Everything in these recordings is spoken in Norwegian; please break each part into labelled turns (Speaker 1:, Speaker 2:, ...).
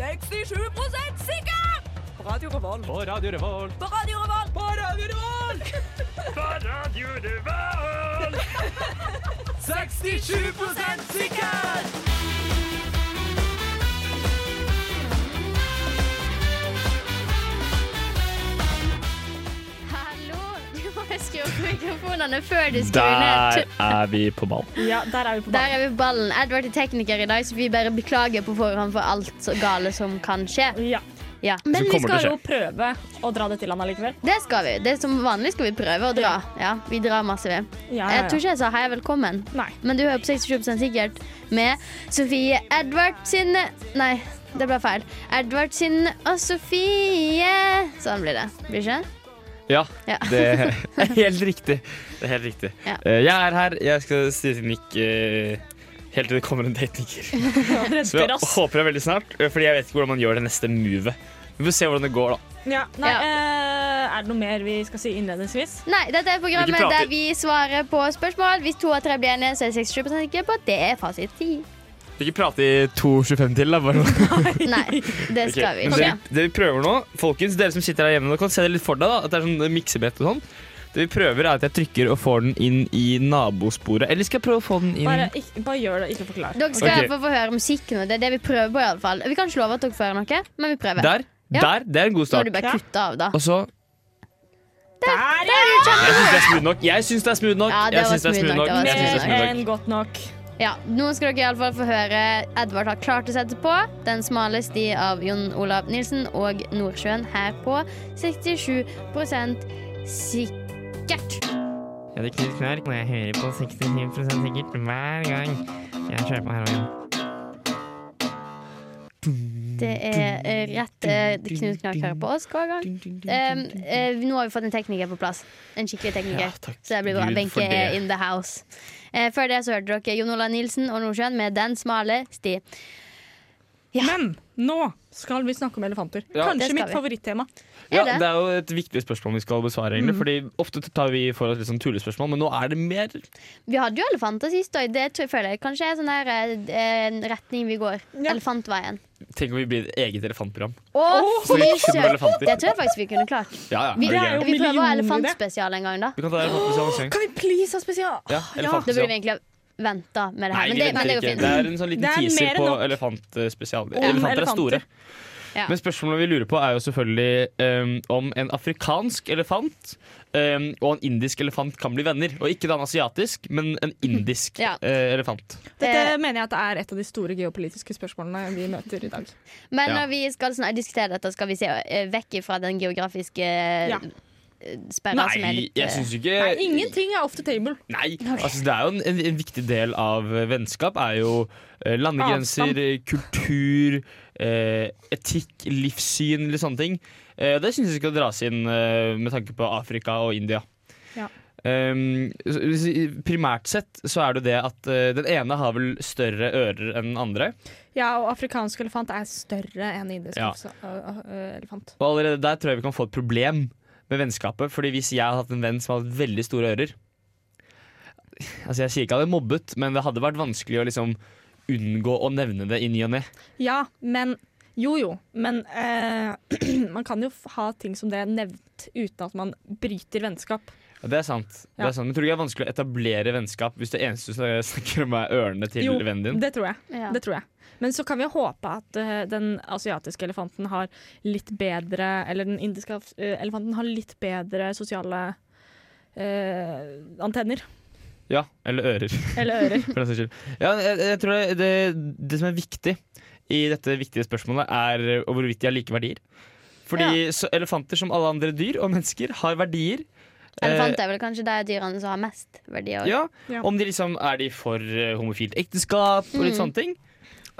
Speaker 1: 67 sikker! På Radio Revolt.
Speaker 2: På Radio Revolt.
Speaker 1: På Radio Revolt.
Speaker 2: På Radio Revolt! På Radio Revolt! 67 sikker!
Speaker 3: Hallo! Du må huske å skru opp mikrofonene før du skrur
Speaker 2: Der
Speaker 3: ned.
Speaker 2: er vi på ball.
Speaker 4: Ja, der er vi på
Speaker 3: Der er vi på ballen. Edward er tekniker i dag, så vi bare beklager på forhånd for alt så gale som kan skje.
Speaker 4: Ja.
Speaker 3: Ja.
Speaker 4: Men
Speaker 2: Så
Speaker 4: vi
Speaker 2: kommer det
Speaker 4: skal
Speaker 2: til å
Speaker 4: jo prøve å dra det til han allikevel.
Speaker 3: Det skal vi. Det er Som vanlig skal vi prøve å dra. Ja, vi drar masse, vi.
Speaker 4: Ja, ja,
Speaker 3: Jeg tror ikke jeg sa hei og velkommen,
Speaker 4: Nei.
Speaker 3: men du hører på 67 sikkert med Sofie Edvard sin Nei, det ble feil. Edvard sin og Sofie. Sånn blir det. Blir det ikke?
Speaker 2: Ja,
Speaker 3: Ja.
Speaker 2: det er helt riktig. Det er helt riktig.
Speaker 3: Ja.
Speaker 2: Eh, Jeg er her. Jeg skal si til Nick eh, helt til det kommer en datinger. Så jeg
Speaker 4: Redder oss.
Speaker 2: håper det er veldig snart, eh, fordi jeg vet ikke hvordan man gjør det neste movet. Vi får se hvordan det går, da.
Speaker 4: Ja, nei,
Speaker 3: Ja.
Speaker 4: eh, er det noe mer vi skal si innledningsvis?
Speaker 3: Nei, dette er programmet
Speaker 2: Ikke prater.
Speaker 3: der vi svarer på spørsmål. Hvis to av tre blir enige, så er det 67 sikre på at det er fasit 10.
Speaker 2: Ikke prate i 2.25 til, da. Bare.
Speaker 3: Nei, det
Speaker 2: Ok,
Speaker 3: skal vi
Speaker 2: men
Speaker 3: ikke.
Speaker 2: Det, det vi prøver nå, folkens, dere som sitter der hjemme, nå kan se det litt for deg, da. At det er sånn miksebrett og sånn. Det vi prøver, er at jeg trykker og får den inn i nabosporet. Eller skal jeg prøve å få den inn
Speaker 4: Bare, ikke, bare gjør det, ikke forklar.
Speaker 3: Dere skal
Speaker 2: Ok.
Speaker 3: okay. få høre musikk nå. Det er det vi prøver på. i alle fall Vi kan ikke love at dere får høre noe, men vi prøver.
Speaker 2: Der!
Speaker 3: Ja.
Speaker 2: Der! Det er en god
Speaker 3: Nå må du
Speaker 2: start.
Speaker 3: bare
Speaker 4: Ja.
Speaker 3: kutte av, da.
Speaker 2: Og så
Speaker 4: Der, ja!
Speaker 2: Jeg syns det er smooth nok. Jeg syns det er smooth nok.
Speaker 3: Ja, det
Speaker 2: Jeg
Speaker 3: var
Speaker 2: syns det er
Speaker 3: smooth
Speaker 2: smooth
Speaker 3: nok,
Speaker 2: nok.
Speaker 3: det var
Speaker 2: Jeg synes det er
Speaker 3: smooth
Speaker 2: smooth
Speaker 4: En
Speaker 2: nok.
Speaker 4: godt nok.
Speaker 3: Ja, Nå skal dere i alle fall få høre Edvard har klart å sette på Den smale sti av Jon Olav Nilsen og Nordsjøen her på 67 sikkert.
Speaker 5: Jeg drikker litt knark, og jeg hører på 67 sikkert hver gang jeg kjører på heroin.
Speaker 3: Det er eh, rett eh, Knut Knark hører på oss hver gang. Um, eh, nå har vi fått en tekniker på plass. En skikkelig tekniker.
Speaker 2: Ja, takk
Speaker 3: så det blir bra.
Speaker 2: Gud for
Speaker 3: Benke er
Speaker 2: det.
Speaker 3: in the house. Eh, før det så hørte dere Jon Olav Nilsen og Nordsjøen med Den smale sti.
Speaker 4: Men nå skal vi snakke om elefanter.
Speaker 2: Ja.
Speaker 3: Det
Speaker 4: Kanskje
Speaker 3: skal
Speaker 4: mitt
Speaker 3: vi.
Speaker 4: favorittema.
Speaker 2: Ja,
Speaker 3: det? Mm.
Speaker 2: det er jo et viktig spørsmål vi skal besvare, egentlig. Fordi ofte tar vi for oss litt sånn tullespørsmål, men nå er det mer
Speaker 3: Vi hadde jo elefanter sist, og det tror, føler jeg kanskje er sånn her eh, en retning vi går.
Speaker 4: Ja.
Speaker 3: Elefantveien.
Speaker 2: Tenk om vi blir et eget elefantprogram.
Speaker 3: Å,
Speaker 2: Så vi kun
Speaker 3: fy
Speaker 2: med
Speaker 3: søren! Det
Speaker 2: elefanter.
Speaker 3: tror jeg faktisk vi kunne klart.
Speaker 2: Ja, ja.
Speaker 3: Vi,
Speaker 2: det er
Speaker 4: jo
Speaker 2: gøy.
Speaker 3: vi prøver å ha
Speaker 4: millioner.
Speaker 3: elefantspesial en gang, da.
Speaker 2: Vi kan ta elefantmusikk. en gang.
Speaker 4: Kan vi please ha spesial?
Speaker 2: Ja,
Speaker 3: Da burde
Speaker 2: elefantmusikk.
Speaker 3: vi egentlig ha venta med det
Speaker 2: Nei,
Speaker 3: her, men
Speaker 2: vi
Speaker 3: det,
Speaker 2: venter
Speaker 3: men det går
Speaker 2: ikke.
Speaker 3: fint.
Speaker 2: Det er en sånn liten
Speaker 4: Det er
Speaker 2: teaser
Speaker 4: mer
Speaker 2: på
Speaker 4: nok
Speaker 2: elefantspesial.
Speaker 4: Om
Speaker 2: Elefanter er store.
Speaker 4: elefanter.
Speaker 3: Ja.
Speaker 2: Men spørsmålet vi lurer på er jo selvfølgelig ehm, om en afrikansk elefant ehm, og en indisk elefant kan bli venner. Og ikke da en asiatisk, men en indisk
Speaker 3: Ja.
Speaker 2: eh, elefant.
Speaker 4: Dette mener jeg at det er et av de store geopolitiske spørsmålene vi møter i dag.
Speaker 3: Men
Speaker 2: Ja.
Speaker 3: når vi skal snak- diskutere dette, skal vi se eh, vekk fra den geografiske ja. sperra som er
Speaker 2: Nei,
Speaker 3: litt eh,
Speaker 2: jeg syns ikke
Speaker 4: Nei, ingenting er off the table.
Speaker 2: Nei, altså det er jo en, en, en viktig del av eh, vennskap er jo eh, landegrenser,
Speaker 4: Avstand.
Speaker 2: eh, kultur, eh, etikk, livssyn eller sånne ting. Eh, og det syns jeg skal dras inn eh, med tanke på Afrika og India.
Speaker 4: Ja.
Speaker 2: Ehm, så- hvis- primært sett så er det jo det at eh, den ene har vel større ører enn den andre.
Speaker 4: Ja, og afrikansk elefant er større enn indisk
Speaker 2: Ja.
Speaker 4: også, ø- ø- ø- elefant.
Speaker 2: Og allerede der tror jeg vi kan få et problem med vennskapet. Fordi hvis jeg hadde hatt en venn som hadde veldig store ører Altså Jeg sier ikke jeg hadde mobbet, men det hadde vært vanskelig å liksom unngå å nevne det i ny og ne.
Speaker 4: Ja, men Jo jo, men eh, man kan jo f- ha ting som det er nevnt uten at man bryter vennskap.
Speaker 2: Og Det er sant.
Speaker 4: Ja.
Speaker 2: Det er sant. Men tror du ikke det er vanskelig å etablere vennskap hvis det eneste du snakker om, er ørene til
Speaker 4: jo,
Speaker 2: vennen din?
Speaker 4: det tror jeg.
Speaker 3: ja.
Speaker 4: Det tror jeg. Men så kan vi håpe at eh, den asiatiske elefanten har litt bedre Eller den indiske af- eh, elefanten har litt bedre sosiale eh, antenner.
Speaker 2: Ja, Eller ører,
Speaker 4: Eller ører.
Speaker 2: for den saks skyld. Ja, jeg, jeg tror det, det, det som er viktig i dette viktige spørsmålet, er hvorvidt de har like verdier. Fordi så elefanter, som alle andre dyr og mennesker, har verdier. Eh,
Speaker 3: Elefanter er vel kanskje de dyrene som har mest verdier.
Speaker 2: Ja,
Speaker 4: Ja. Mm.
Speaker 2: Om de liksom er de for eh, homofilt ekteskap og litt sånne ting.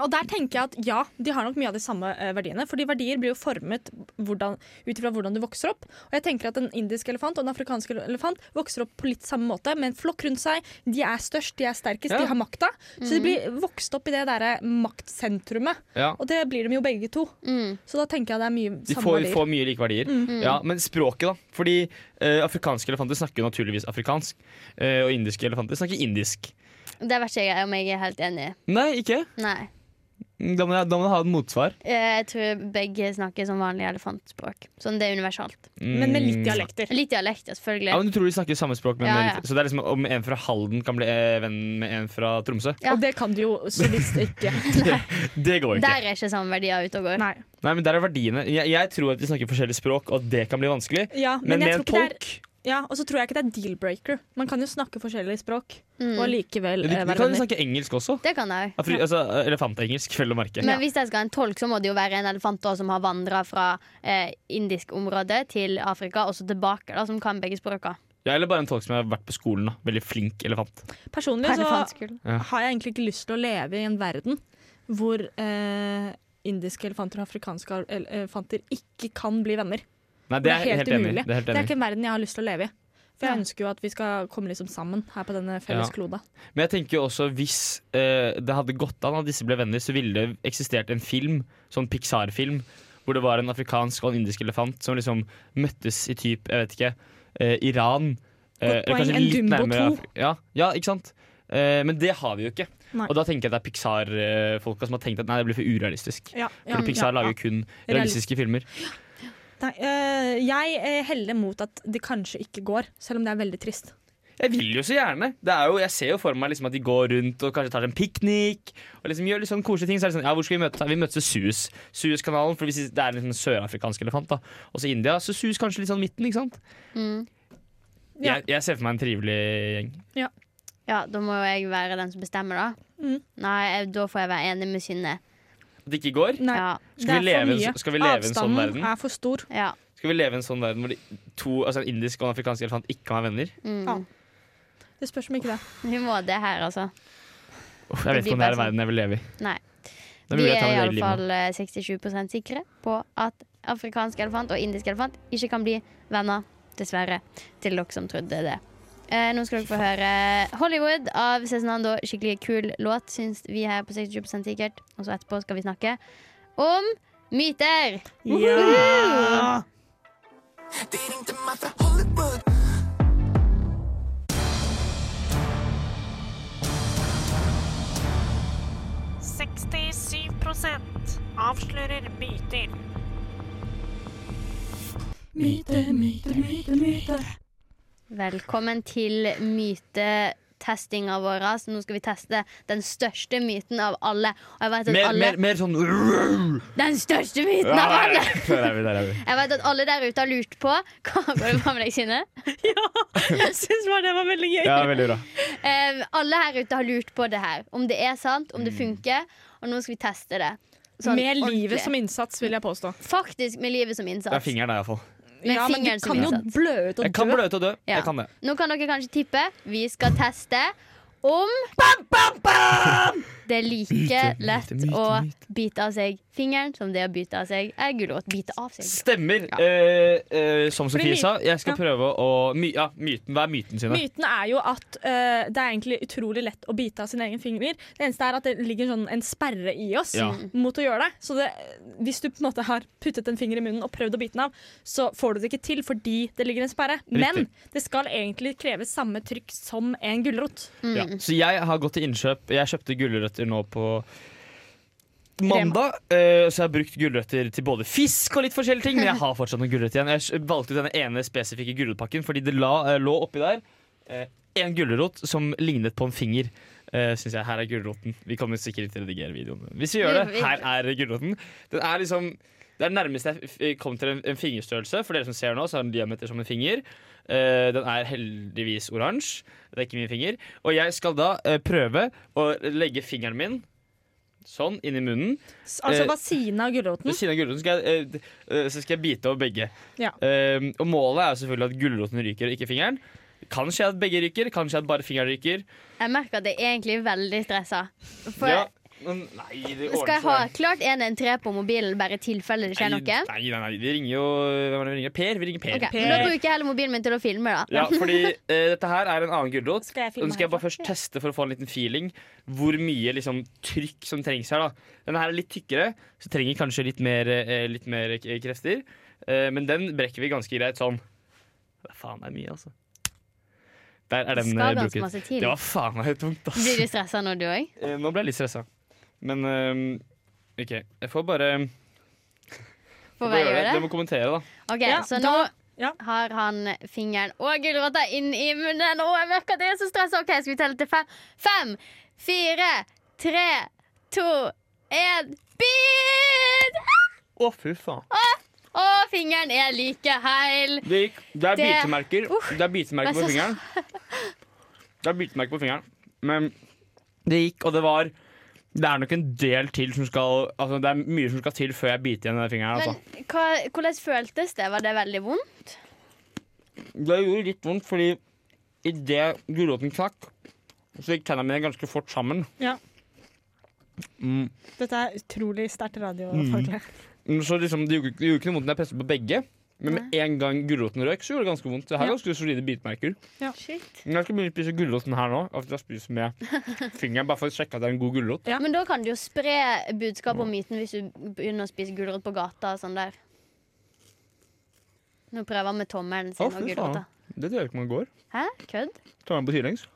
Speaker 4: Og der tenker jeg at ja, de har nok mye av de samme eh, verdiene. Fordi verdier blir jo formet hvordan- ut ifra hvordan du vokser opp. Og jeg tenker at en indisk elefant og en afrikansk elefant vokser opp på litt samme måte, med en flokk rundt seg. De er størst, de er sterkest,
Speaker 2: Ja. Mhm.
Speaker 4: de har makta. Så de blir vokst opp i det derre maktsentrumet.
Speaker 2: Ja.
Speaker 4: Og det blir de jo begge to.
Speaker 3: Mm.
Speaker 4: Så da tenker jeg det er mye
Speaker 2: De
Speaker 4: samme
Speaker 2: får,
Speaker 4: verdier. Mm.
Speaker 2: får mye like verdier. Ja, men språket, da. Fordi eh, afrikanske elefanter snakker jo naturligvis afrikansk. eh, og indiske elefanter snakker indisk.
Speaker 3: Det vet ikke jeg om jeg er helt enig i.
Speaker 2: Nei, ikke?
Speaker 3: Nei.
Speaker 2: Da må jeg, da må jeg ha et motsvar.
Speaker 3: Eh, Jeg tror begge snakker som vanlig elefantspråk. Sånn, det er universalt.
Speaker 4: Men med litt
Speaker 2: Mm.
Speaker 4: dialekter.
Speaker 3: Litt dialekt, ja,
Speaker 2: Ja,
Speaker 3: selvfølgelig.
Speaker 2: men Du tror de snakker samme språk, men
Speaker 3: Ja,
Speaker 2: med
Speaker 3: ja.
Speaker 2: litt- så det er liksom om en fra Halden kan bli eh, venn med en fra Tromsø?
Speaker 3: Ja.
Speaker 4: Og det kan du jo så visst ikke.
Speaker 2: Det går ikke.
Speaker 3: Der er ikke samme verdier ute og går.
Speaker 4: Nei.
Speaker 2: Nei, men der er verdiene. Jeg, jeg tror at de snakker forskjellige språk, og at det kan bli vanskelig.
Speaker 4: Ja,
Speaker 2: Men,
Speaker 4: men, jeg
Speaker 2: med en
Speaker 4: tror ikke det er
Speaker 2: tolk
Speaker 4: Ja, og så tror jeg ikke det er deal-breaker. Man kan jo snakke forskjellige språk
Speaker 3: Mm.
Speaker 4: og likevel
Speaker 2: De,
Speaker 4: eh,
Speaker 2: de
Speaker 4: være
Speaker 2: kan jo
Speaker 4: venner.
Speaker 2: snakke engelsk også.
Speaker 3: Det kan jeg òg.
Speaker 2: Ja, fordi, altså, Elefantengelsk, vel å merke.
Speaker 3: Men hvis jeg skal ha en tolk, så må det jo være en elefant da, som har vandra fra eh, indisk område til Afrika, og så tilbake, da, som kan begge språka.
Speaker 2: Ja, eller bare en tolk som har vært på skolen. da Veldig flink elefant.
Speaker 4: Personlig
Speaker 3: På
Speaker 4: så
Speaker 3: elefantskolen.
Speaker 4: har jeg egentlig ikke lyst til å leve i en verden hvor eh, indiske elefanter og afrikanske el- elefanter ikke kan bli venner.
Speaker 2: Nei,
Speaker 4: Det
Speaker 2: det
Speaker 4: er
Speaker 2: er jeg
Speaker 4: helt
Speaker 2: helt enig i.
Speaker 4: umulig.
Speaker 2: Det er helt
Speaker 4: Det er
Speaker 2: enig. i.
Speaker 4: ikke en verden jeg har lyst til å leve i. For jeg ønsker jo at vi skal komme liksom sammen her på denne felles
Speaker 2: Ja.
Speaker 4: kloda.
Speaker 2: Men jeg tenker jo også hvis eh, det hadde gått an at disse ble venner, så ville det eksistert en film, sånn Pixar-film, hvor det var en afrikansk og en indisk elefant som liksom møttes i typ, jeg vet ikke, eh, Iran. eh,
Speaker 4: Godt poeng, en Dumbo
Speaker 2: nærmere
Speaker 4: 2.
Speaker 2: Afri- ja, ja, ikke sant? Eh, men det har vi jo ikke.
Speaker 4: Nei.
Speaker 2: Og da tenker jeg at det er Pixar-folka som har tenkt at nei, det blir for urealistisk.
Speaker 4: Ja,
Speaker 2: For Pixar lager jo kun realistiske filmer.
Speaker 4: Nei, eh, jeg eh, heller mot at det kanskje ikke går, selv om det er veldig trist.
Speaker 2: Jeg vil jo så gjerne. Det er jo, jeg ser jo for meg liksom at de går rundt og kanskje tar seg en piknik. Og liksom gjør litt sånn koselige ting. Så er det sånn, ja, hvor skal vi møtes? Vi møtes ved Suez. Suezkanalen. For hvis det er en sånn sørafrikansk elefant, da. Og så India. Så Suez kanskje litt sånn midten, ikke sant?
Speaker 3: Mm.
Speaker 4: Ja.
Speaker 2: Jeg, jeg ser for meg en trivelig gjeng.
Speaker 3: Ja, da må jo jeg være den som bestemmer, da.
Speaker 4: Mm.
Speaker 3: Nei, jeg- da får jeg være enig med Synne.
Speaker 2: At det ikke går.
Speaker 4: Nei,
Speaker 3: Ja,
Speaker 2: Skal vi
Speaker 4: det er
Speaker 2: leve
Speaker 4: for
Speaker 2: i en
Speaker 4: mye.
Speaker 2: så- skal vi leve i en sånn
Speaker 4: Avstanden
Speaker 2: verden?
Speaker 4: er for stor.
Speaker 3: ja.
Speaker 2: Skal vi leve i en sånn verden hvor de to, altså en indisk og en afrikansk elefant ikke kan være venner?
Speaker 3: Mm.
Speaker 4: Ja. Det spørs om ikke det.
Speaker 3: Vi må det her, altså.
Speaker 2: Uff, jeg
Speaker 3: Det
Speaker 2: vet ikke om
Speaker 3: blir
Speaker 2: det er en
Speaker 3: bare
Speaker 2: verden jeg vil leve i.
Speaker 3: Nei.
Speaker 2: Det er
Speaker 3: Vi
Speaker 2: mulig jeg
Speaker 3: er
Speaker 2: tar mitt eget liv nå.
Speaker 3: iallfall 67 eh, sikre på at afrikansk elefant og indisk elefant ikke kan bli venner, dessverre, til dere som trodde det. Eh, nå skal dere få høre Hollywood av Cezinando. Skikkelig kul låt, syns vi her på 67 sikkert. Og så etterpå skal vi snakke om myter.
Speaker 4: Ja!
Speaker 6: De ringte meg fra Hollywood.
Speaker 7: avslører myter.
Speaker 3: Velkommen til mytetestinga vår. Så nå skal vi teste den største myten av alle. Og jeg vet at
Speaker 2: Mer,
Speaker 3: alle
Speaker 2: mer, mer sånn Der
Speaker 3: Den største myten av alle!
Speaker 2: er vi, der er vi.
Speaker 3: Jeg vet at alle der ute har lurt på Hva går det bra med deg, Synne?
Speaker 4: Jeg syns bare det var veldig gøy.
Speaker 2: Ja, veldig bra.
Speaker 3: Eh, alle her ute har lurt på det her. Om det er sant,
Speaker 2: Mm.
Speaker 3: om det funker. Og nå skal vi teste det. Sånn
Speaker 4: Med
Speaker 3: ordentlig.
Speaker 4: livet som innsats, vil jeg påstå.
Speaker 3: Faktisk med livet som innsats.
Speaker 2: Det er fingeren der, iallfall.
Speaker 3: Med
Speaker 4: ja, men du
Speaker 3: fingeren som
Speaker 4: kan jo
Speaker 3: innsats.
Speaker 4: blø ut og
Speaker 2: Jeg kan
Speaker 4: dø.
Speaker 2: bløte og dø.
Speaker 3: Ja.
Speaker 2: Jeg kan det.
Speaker 3: Nå kan dere kanskje tippe. Vi skal teste om Det er like
Speaker 2: Myte, myte,
Speaker 3: lett
Speaker 2: myte,
Speaker 3: å
Speaker 2: myte.
Speaker 3: bite av seg fingeren som det å bite av seg er gulrot. Bite av seg.
Speaker 2: Stemmer. Eh, eh, som
Speaker 4: Fordi
Speaker 2: Sofie
Speaker 4: myt-
Speaker 2: sa, jeg skal
Speaker 4: ja.
Speaker 2: prøve å my, Ja, myten. Hva er myten sine?
Speaker 4: Myten er jo at eh, det er egentlig utrolig lett å bite av sin egen finger. Det eneste er at det ligger sånn en sperre i oss
Speaker 2: Ja.
Speaker 4: mot å gjøre det. Så det, hvis du på en måte har puttet en finger i munnen og prøvd å bite den av, så får du det ikke til fordi det ligger en sperre. Men det skal egentlig kreve samme trykk som en gulrot.
Speaker 2: Ja.
Speaker 3: Mm.
Speaker 2: Så jeg har gått til innkjøp. Jeg kjøpte gulrøtter nå på mandag. eh, så jeg har brukt gulrøtter til både fisk og litt forskjellige ting. Men jeg har fortsatt noen gulrøtter igjen. Jeg s- valgte ut denne ene spesifikke gulrotpakken fordi det la, eh, lå oppi der eh, en gulrot som lignet på en finger. Uh, synes jeg, Her er gulroten. Vi kommer sikkert ikke til å redigere videoen. Hvis vi gjør
Speaker 3: Vi-
Speaker 2: det,
Speaker 3: vi-
Speaker 2: her er gulroten. Den er liksom det er det nærmeste jeg f- f- kom til en, en fingerstørrelse. For dere som ser nå, så har den diameter som en finger. Eh, den er heldigvis oransje. Det er ikke min finger. Og jeg skal da eh, prøve å legge fingeren min sånn inn i munnen.
Speaker 4: S- Altså
Speaker 2: Eh,
Speaker 4: ved siden av
Speaker 2: Ved
Speaker 4: gulroten.
Speaker 2: siden av gulroten skal jeg, eh, d- eh, så skal jeg bite over begge.
Speaker 4: Ja.
Speaker 2: Eh, og målet er jo selvfølgelig at gulroten ryker, og ikke fingeren. Kanskje at begge ryker, kanskje at bare fingeren ryker.
Speaker 3: Jeg merker at jeg er egentlig er veldig stressa. For
Speaker 2: Ja, men nei, det ordner
Speaker 3: skal jeg ha
Speaker 2: seg.
Speaker 3: klart 113 på mobilen bare i tilfelle det skjer
Speaker 2: Nei,
Speaker 3: noe?
Speaker 2: Nei, nei, nei, vi ringer jo Hvem er det vi ringer? Per. Vi ringer Per.
Speaker 3: Ok, men Da bruker jeg heller mobilen min til å filme, da.
Speaker 2: Ja, fordi eh, dette her er en annen gulrot.
Speaker 4: Skal jeg filme
Speaker 2: Og den skal jeg bare
Speaker 4: herfra?
Speaker 2: først teste for å få en liten feeling hvor mye liksom, trykk som trengs her. Da. Denne her er litt tykkere, så trenger kanskje litt mer, eh, litt mer k- krefter. Eh, men den brekker vi ganske greit sånn. Hva faen, det er mye, altså. Der er
Speaker 3: Det
Speaker 2: den eh,
Speaker 3: skal ganske
Speaker 2: brukket.
Speaker 3: masse til.
Speaker 2: Det var faen meg tungt, ass.
Speaker 3: Blir du stressa nå, du òg?
Speaker 2: Eh, nå ble jeg litt stressa. Men eh, Ok, jeg får bare
Speaker 3: Får bare gjøre det.
Speaker 2: Du må kommentere, da.
Speaker 3: Ok,
Speaker 8: Ja,
Speaker 3: så
Speaker 8: da-
Speaker 3: nå
Speaker 8: ja.
Speaker 3: har han fingeren og gulrota inn i munnen. Å, jeg merker at jeg er så stressa. Ok, skal vi telle til fem? Fem, fire, tre, to, én. Bit!
Speaker 2: Å, fy faen.
Speaker 3: Å, fingeren er like heil.
Speaker 2: Det gikk. Det er
Speaker 3: Det-
Speaker 2: bitemerker. Det er
Speaker 3: Vær
Speaker 2: bitemerker
Speaker 3: så
Speaker 2: på fingeren. Det er bitemerker på fingeren. Men det gikk, og det var Det er nok en del til som skal Altså, det er mye som skal til før jeg biter igjen den fingeren.
Speaker 3: Men
Speaker 2: Altså.
Speaker 3: hva, hvordan føltes det? Var det veldig vondt?
Speaker 2: Det gjorde litt vondt, fordi idet gulroten knakk, så gikk tennene mine ganske fort sammen.
Speaker 4: Ja.
Speaker 2: Mm.
Speaker 4: Dette er utrolig sterkt radiofaglig.
Speaker 2: Men Så liksom, det gjorde, det gjorde ikke noe vondt når jeg presset på begge. Men med en gang gulroten røk, så gjorde det ganske vondt. Det her
Speaker 4: Ja.
Speaker 2: er ganske solide bitmerker.
Speaker 3: Shit.
Speaker 2: Men jeg skal begynne å spise gulroten her nå. At jeg spiser med fingeren Bare for å sjekke at det er en god gulrot.
Speaker 3: Men da kan du jo spre budskapet om myten hvis du begynner å spise gulrot på gata og sånn der. Nå prøver han med tommelen sin
Speaker 2: Å,
Speaker 3: og
Speaker 2: fy
Speaker 3: gulrota.
Speaker 2: faen. Det tror jeg ikke man går.
Speaker 3: Hæ? Kødd?
Speaker 2: Tar den på sidelengs.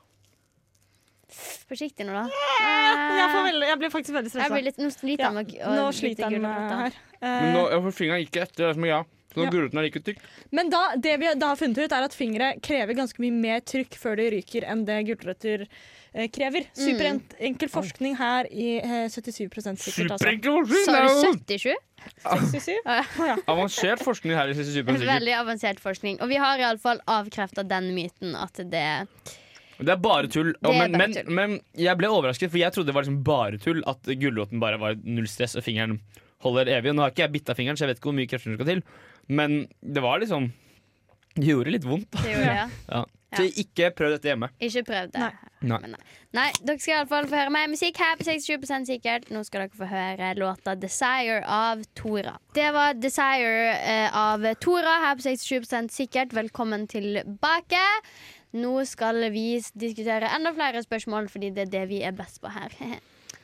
Speaker 3: Forsiktig nå, da.
Speaker 2: Mm.
Speaker 4: Jeg, får veldig, jeg blir faktisk veldig
Speaker 3: Jeg
Speaker 4: stressa.
Speaker 3: blir litt, nå sliter
Speaker 4: Ja,
Speaker 3: han med å-
Speaker 4: Nå
Speaker 3: å bite
Speaker 4: sliter jeg med
Speaker 3: gulrota.
Speaker 4: her.
Speaker 2: Men
Speaker 4: Eh,
Speaker 2: nå, ja, for fingeren gikk etter det som jeg. Så når
Speaker 4: Ja.
Speaker 2: gulroten er like tykk
Speaker 4: Men da, det vi da har funnet ut, er at fingre krever ganske mye mer trykk før de ryker enn det gulrøtter eh, krever. Superenkel forskning her i eh, 77 sikkert. Altså.
Speaker 2: Superenkel forskning!
Speaker 3: Sa
Speaker 2: det er jo
Speaker 3: du 77?
Speaker 4: 67?
Speaker 2: Avansert forskning her. i Superenkel sikkert.
Speaker 3: Veldig avansert forskning. Og vi har iallfall avkrefta den myten at det
Speaker 2: Det er bare tull. Og,
Speaker 3: Det er
Speaker 2: men,
Speaker 3: bare
Speaker 2: men,
Speaker 3: tull.
Speaker 2: men jeg ble overrasket, for jeg trodde det var liksom bare tull. At gulroten bare var null stress, og fingeren holder evig. Nå har ikke jeg bitt av fingeren, så jeg vet ikke hvor mye krefter som skal til. Men det var liksom Det gjorde litt vondt. da.
Speaker 3: Det gjorde det.
Speaker 2: Ja. Så ikke prøv dette hjemme.
Speaker 3: Ikke prøv det.
Speaker 4: Nei.
Speaker 2: Nei.
Speaker 3: Men nei. nei, dere skal iallfall få høre mer musikk her på 67 sikkert. Nå skal dere få høre låta 'Desire' av Tora. Det var 'Desire' eh, av Tora her på 67 sikkert. Velkommen tilbake. Nå skal vi s- diskutere enda flere spørsmål, fordi det er det vi er best på her. Eh,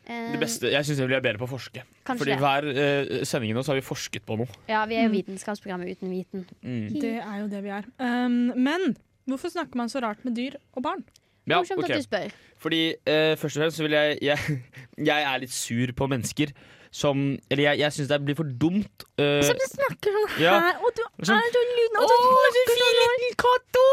Speaker 2: Det beste, Jeg syns jeg blir bedre på å forske.
Speaker 3: Kanskje
Speaker 2: Fordi
Speaker 3: det.
Speaker 2: hver eh, sending nå så har vi forsket på noe. Mm.
Speaker 3: Ja, vi er jo
Speaker 4: Mm.
Speaker 3: vitenskapsprogrammet uten viten.
Speaker 4: Det er jo det vi er. Um, men hvorfor snakker man så rart med dyr og barn?
Speaker 2: Ja,
Speaker 3: Morsomt
Speaker 2: ok.
Speaker 3: at du spør.
Speaker 2: Fordi eh, først og fremst så vil jeg Jeg, jeg er litt sur på mennesker som Eller jeg, jeg syns det blir for dumt. eh,
Speaker 4: Som du snakker sånn
Speaker 2: Ja.
Speaker 4: her, og du
Speaker 2: Sånn.
Speaker 4: er så liten og
Speaker 2: Å,
Speaker 4: så
Speaker 2: så
Speaker 4: snakker
Speaker 2: fin
Speaker 4: sånn.
Speaker 2: liten katt! Å,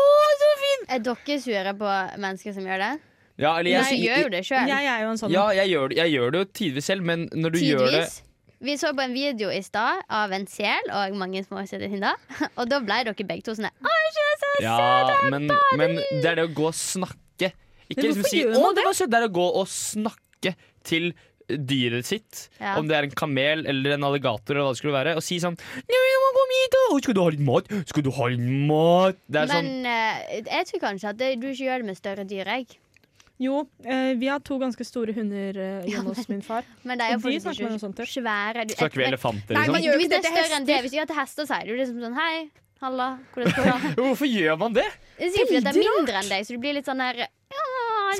Speaker 2: så fin!
Speaker 3: Er dere sure på mennesker som gjør det?
Speaker 2: Ja, eller jeg,
Speaker 3: Nei,
Speaker 2: jeg-
Speaker 3: gjør jo det sjøl.
Speaker 4: Jeg er jo en sånn.
Speaker 2: Ja, jeg gjør, det- jeg gjør det jo tidvis selv, men når du gjør det
Speaker 3: Tidvis. Vi så på en video i stad av en sel og mange små selehinder. Og da ble dere begge to sånn Å, ikke så søt!
Speaker 2: Ja, men, men det er det å gå og snakke. Ikke
Speaker 4: Men
Speaker 2: liksom
Speaker 4: hvorfor
Speaker 2: si
Speaker 4: gjør
Speaker 2: 'Å,
Speaker 4: man
Speaker 2: det var søtt'. Det er å gå og snakke til dyret sitt,
Speaker 3: Ja.
Speaker 2: om det er en kamel eller en alligator, eller hva det skulle være, og si sånn «Ja, jeg må komme hit, da. Å, 'Skal du ha litt mat? Skal du ha litt mat?' Det er
Speaker 3: Men
Speaker 2: sånn
Speaker 3: eh, jeg tror kanskje at det, du ikke gjør det med større dyr, jeg.
Speaker 4: Jo, eh, vi har to ganske store hunder eh, hjemme hos min far.
Speaker 2: Sånn
Speaker 3: Men det er
Speaker 4: Og
Speaker 3: jo
Speaker 4: de
Speaker 3: fortsatt
Speaker 4: snakker man jo
Speaker 3: ikke
Speaker 4: sånn til.
Speaker 3: svære du-
Speaker 2: Snakker vi
Speaker 3: men-
Speaker 2: elefanter,
Speaker 8: Nei,
Speaker 2: liksom?
Speaker 8: men- gjør jo
Speaker 3: Hvis
Speaker 8: ikke
Speaker 3: det er
Speaker 8: det til
Speaker 3: større enn det,
Speaker 8: hester.
Speaker 3: hvis du gjør det til hester, så er det jo liksom sånn Hei, halla, hvordan går det?
Speaker 2: Hvorfor gjør man det?
Speaker 3: Det er sikkert fordi at det er mindre enn deg, så du blir litt sånn her ja,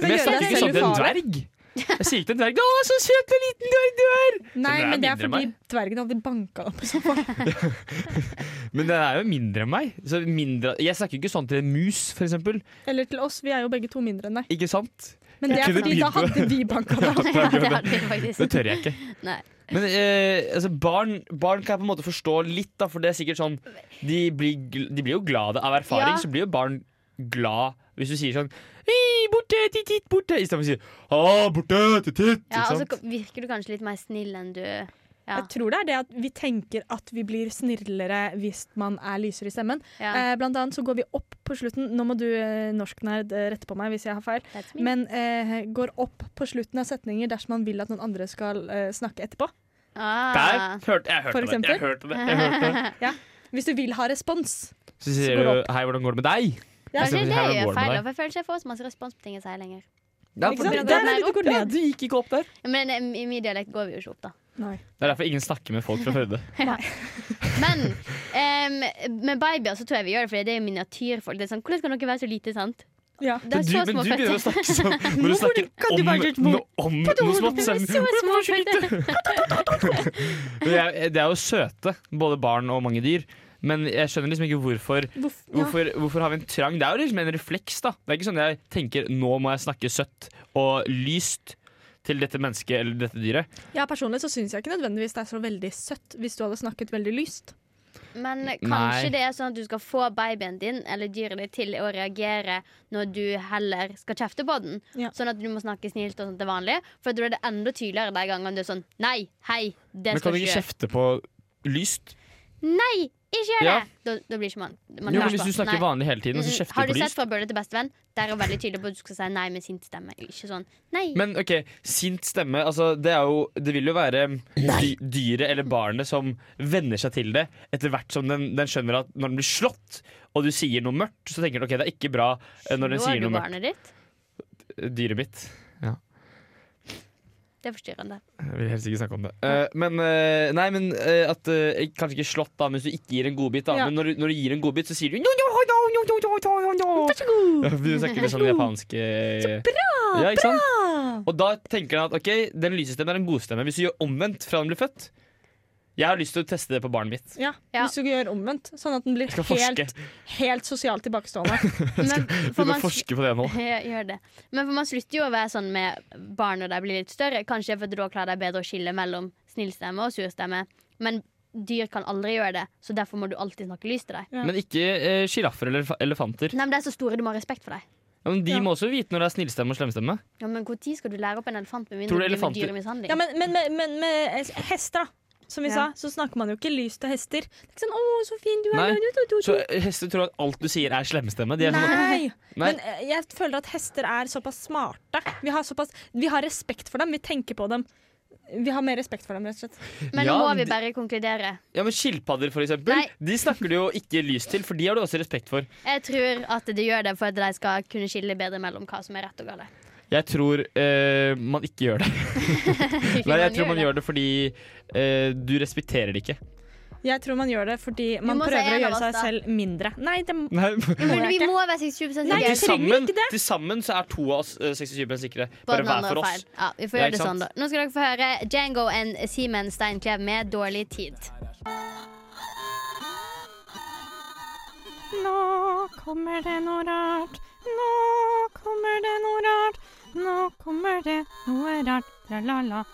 Speaker 2: Men jeg
Speaker 4: gjøre
Speaker 2: snakker
Speaker 4: det
Speaker 2: ikke sånn til en dverg. Jeg sier ikke til en dverg 'Å, så søt en liten dverg du er'.
Speaker 4: Nei,
Speaker 2: dere er
Speaker 4: men det er
Speaker 2: mindre enn
Speaker 4: fordi dvergen hadde banka opp.
Speaker 2: Men den er jo mindre enn meg. Så mindre, jeg snakker ikke sånn til en mus, for eksempel.
Speaker 4: Eller til oss, vi er jo begge to mindre enn deg.
Speaker 2: Ikke sant?
Speaker 4: Men det
Speaker 2: Jeg
Speaker 4: er
Speaker 2: kunne
Speaker 4: fordi da
Speaker 2: begynt
Speaker 4: hadde vi banka deg.
Speaker 3: ja, det hadde vi faktisk.
Speaker 2: Det tør jeg ikke.
Speaker 3: Nei.
Speaker 2: Men eh, altså, barn, barn kan jeg på en måte forstå litt, da, for det er sikkert sånn De blir, gl- de blir jo glade av erfaring.
Speaker 3: Ja.
Speaker 2: Så blir jo barn glad hvis du sier sånn Hei, borte, titt, titt, borte. Istedenfor å si Å, borte, titt, titt.
Speaker 3: Ja,
Speaker 2: ikke
Speaker 3: og så
Speaker 2: sant?
Speaker 3: ko- virker du kanskje litt mer snill enn du Ja.
Speaker 4: Jeg tror det er det at vi tenker at vi blir snillere hvis man er lysere i stemmen.
Speaker 3: ja.
Speaker 4: Eh, blant annet så går vi opp på slutten. Nå må du eh, norsknerd eh, rette på meg hvis jeg har feil.
Speaker 3: That's me.
Speaker 4: Men eh, går opp på slutten av setninger dersom man vil at noen andre skal eh, snakke etterpå.
Speaker 2: Der
Speaker 3: ah.
Speaker 2: hørte jeg
Speaker 4: For
Speaker 2: hørte det.
Speaker 4: eksempel?
Speaker 2: Jeg hørte det. Jeg hørte det.
Speaker 4: Hvis du vil ha respons.
Speaker 2: Så sier
Speaker 4: Så går
Speaker 2: du
Speaker 4: det
Speaker 2: 'Hei, hvordan går det med deg?'
Speaker 4: Ja,
Speaker 2: Istedenfor å
Speaker 3: Kanskje
Speaker 2: si,
Speaker 3: det
Speaker 2: «Hei, hvordan går
Speaker 3: gjør
Speaker 2: det med
Speaker 3: feil,
Speaker 2: deg?»
Speaker 3: da, for jeg føler ikke jeg får så masse respons på ting jeg sier lenger.
Speaker 2: Ja,
Speaker 4: Ikke
Speaker 2: for
Speaker 4: sant?
Speaker 2: det-
Speaker 4: Det
Speaker 2: det-
Speaker 4: er litt opp,
Speaker 2: Ja,
Speaker 4: ja.
Speaker 2: du gikk ikke opp der.
Speaker 3: Men eh, i min dialekt går vi jo ikke opp, da.
Speaker 4: Nei.
Speaker 2: Det er derfor ingen snakker med folk fra Førde.
Speaker 3: Men em, med babyer så tror jeg vi gjør det, for det er jo miniatyrfolk. Det er sånn, Hvordan kan dere være så lite, sant?
Speaker 4: Ja.
Speaker 3: Det er så
Speaker 2: men
Speaker 3: små
Speaker 2: du begynner å
Speaker 3: føtter.
Speaker 2: snakke sånn når du snakker
Speaker 4: kan du
Speaker 2: om,
Speaker 4: være litt
Speaker 2: no,
Speaker 4: mor-
Speaker 2: om noe smått. så er
Speaker 3: Så
Speaker 2: det-
Speaker 3: små føtter.
Speaker 2: Det er det er jo søte, både barn og mange dyr. Men jeg skjønner liksom ikke hvorfor,
Speaker 4: Hvorf- ja.
Speaker 2: hvorfor, hvorfor har vi en trang. Det er jo liksom en refleks. da Det er ikke sånn jeg tenker nå må jeg snakke søtt og lyst. til dette mennesket eller dette dyret.
Speaker 4: Ja, Personlig så syns jeg ikke nødvendigvis det er så veldig søtt hvis du hadde snakket veldig lyst.
Speaker 3: Men
Speaker 2: Nei.
Speaker 3: kanskje det er sånn at du skal få babyen din eller dyret ditt til å reagere når du heller skal kjefte på den.
Speaker 4: Ja.
Speaker 3: Sånn at du må snakke snilt og sånt til vanlig. For da er det enda tydeligere de gangene du er sånn Nei, hei, det
Speaker 2: Men kan
Speaker 3: skal
Speaker 2: du
Speaker 3: du
Speaker 2: ikke
Speaker 3: ikke gjøre.
Speaker 2: kjefte på lyst?
Speaker 3: Nei, ikke gjør det!
Speaker 2: Ja.
Speaker 3: Da, da blir ikke man, man
Speaker 2: Jo,
Speaker 3: hører
Speaker 2: men Hvis
Speaker 3: på.
Speaker 2: du snakker
Speaker 3: Nei.
Speaker 2: vanlig hele tiden, og så
Speaker 3: Mm,
Speaker 2: kjefter
Speaker 3: Har
Speaker 2: du
Speaker 3: du
Speaker 2: på
Speaker 3: sett
Speaker 2: lyst
Speaker 3: Fra bølle til bestevenn? Der er hun veldig tydelig på at du skal si nei med sint stemme. Ikke sånn nei.
Speaker 2: Men OK, sint stemme. Altså, det, er jo, det vil jo være dy dyret eller barnet som venner seg til det etter hvert som den, den skjønner at når den blir slått, og du sier noe mørkt, så tenker den OK, det er ikke bra eh, når den
Speaker 3: Nå
Speaker 2: sier
Speaker 3: er du
Speaker 2: noe mørkt.
Speaker 3: barnet ditt.
Speaker 2: Dyret mitt.
Speaker 3: Det er forstyrrende.
Speaker 2: Jeg vil helst ikke snakke om det. Eh, men eh, nei, men eh, at eh, Kanskje ikke slått, da, mens du ikke gir en godbit. da
Speaker 4: Ja.
Speaker 2: Men når, du- når du gir en godbit, så sier du no, no, no, no, no, no, no, no. Ja, for Du snakker litt sånn japansk eh, ja, ikke sant?
Speaker 3: Ah.
Speaker 2: Og da tenker han at ok, den lyse stemmen er en god stemme. Hvis du gjør omvendt fra den blir født Jeg har lyst til å teste det på barnet mitt.
Speaker 4: Ja,
Speaker 3: Ja.
Speaker 4: Hvis du gjør omvendt, sånn at den blir
Speaker 2: Jeg skal forske,
Speaker 4: helt, helt sosialt tilbakestående.
Speaker 3: Men, for
Speaker 2: Begynne å
Speaker 3: man,
Speaker 2: forske på det nå.
Speaker 3: Ja, gjør det. Men for man slutter jo å være sånn med barn når de blir litt større. Kanskje fordi da klarer de bedre å skille mellom snillstemme og surstemme. Men dyr kan aldri gjøre det, så derfor må du alltid snakke lyst til dem.
Speaker 2: Men ikke eh, sjiraffer eller elef- elefanter.
Speaker 3: Nei, men De er så store, du må ha respekt for dem.
Speaker 2: Ja, men de må også vite når det er snillstemme og slemstemme.
Speaker 3: Ja, men Når skal du lære opp en elefant med
Speaker 2: Tror du
Speaker 3: mindre du driver
Speaker 2: elefanter-
Speaker 3: med dyremishandling?
Speaker 4: Ja, men, men, men, men med hester, da. Som vi
Speaker 3: Ja.
Speaker 4: sa, så snakker man jo ikke lyst til hester. Det er ikke sånn 'Å, så fin du er'.
Speaker 2: Nei.
Speaker 4: du, du, du, du.
Speaker 2: Så eh, hester tror at alt du sier, er slemstemme. De er sånn,
Speaker 4: Nei.
Speaker 2: Nei.
Speaker 4: Men eh, jeg føler at hester er såpass smarte. Vi har, såpass, vi har respekt for dem, vi tenker på dem. Vi har mer respekt for dem, rett og slett.
Speaker 3: Men
Speaker 2: sånn, Ja,
Speaker 3: må
Speaker 2: de-
Speaker 3: vi bare konkludere?
Speaker 2: Ja, men Skilpadder, for eksempel,
Speaker 3: Nei.
Speaker 2: de snakker du jo ikke lys til, for de har du også respekt for.
Speaker 3: Jeg tror at de gjør det for at de skal kunne skille bedre mellom hva som er rett og galt.
Speaker 2: Jeg tror eh, man ikke gjør det. Nei, jeg tror man gjør det fordi eh, du respekterer det ikke.
Speaker 4: Jeg tror man gjør det fordi man
Speaker 3: må si
Speaker 4: prøver å
Speaker 3: en av
Speaker 4: gjøre
Speaker 3: oss,
Speaker 4: seg
Speaker 3: da.
Speaker 4: selv mindre. Nei, det må
Speaker 2: Nei,
Speaker 3: Men vi må være 67 sikre.
Speaker 2: til,
Speaker 4: jeg trenger
Speaker 2: sammen,
Speaker 4: ikke det.
Speaker 2: til sammen så er to av oss eh, 67 sikre.
Speaker 3: På
Speaker 2: Bare
Speaker 3: den
Speaker 2: hver
Speaker 3: andre
Speaker 2: for
Speaker 3: var
Speaker 2: oss.
Speaker 3: feil. Ja, vi får
Speaker 2: Ja,
Speaker 3: gjøre
Speaker 2: ikke
Speaker 3: det sånn, da.
Speaker 2: sant?
Speaker 3: Nå skal dere få høre Django and Simen Steinklev med 'Dårlig tid'.
Speaker 7: Nå kommer det noe rart. Nå kommer det noe rart. Nå kommer det noe rart. Tra-la-la.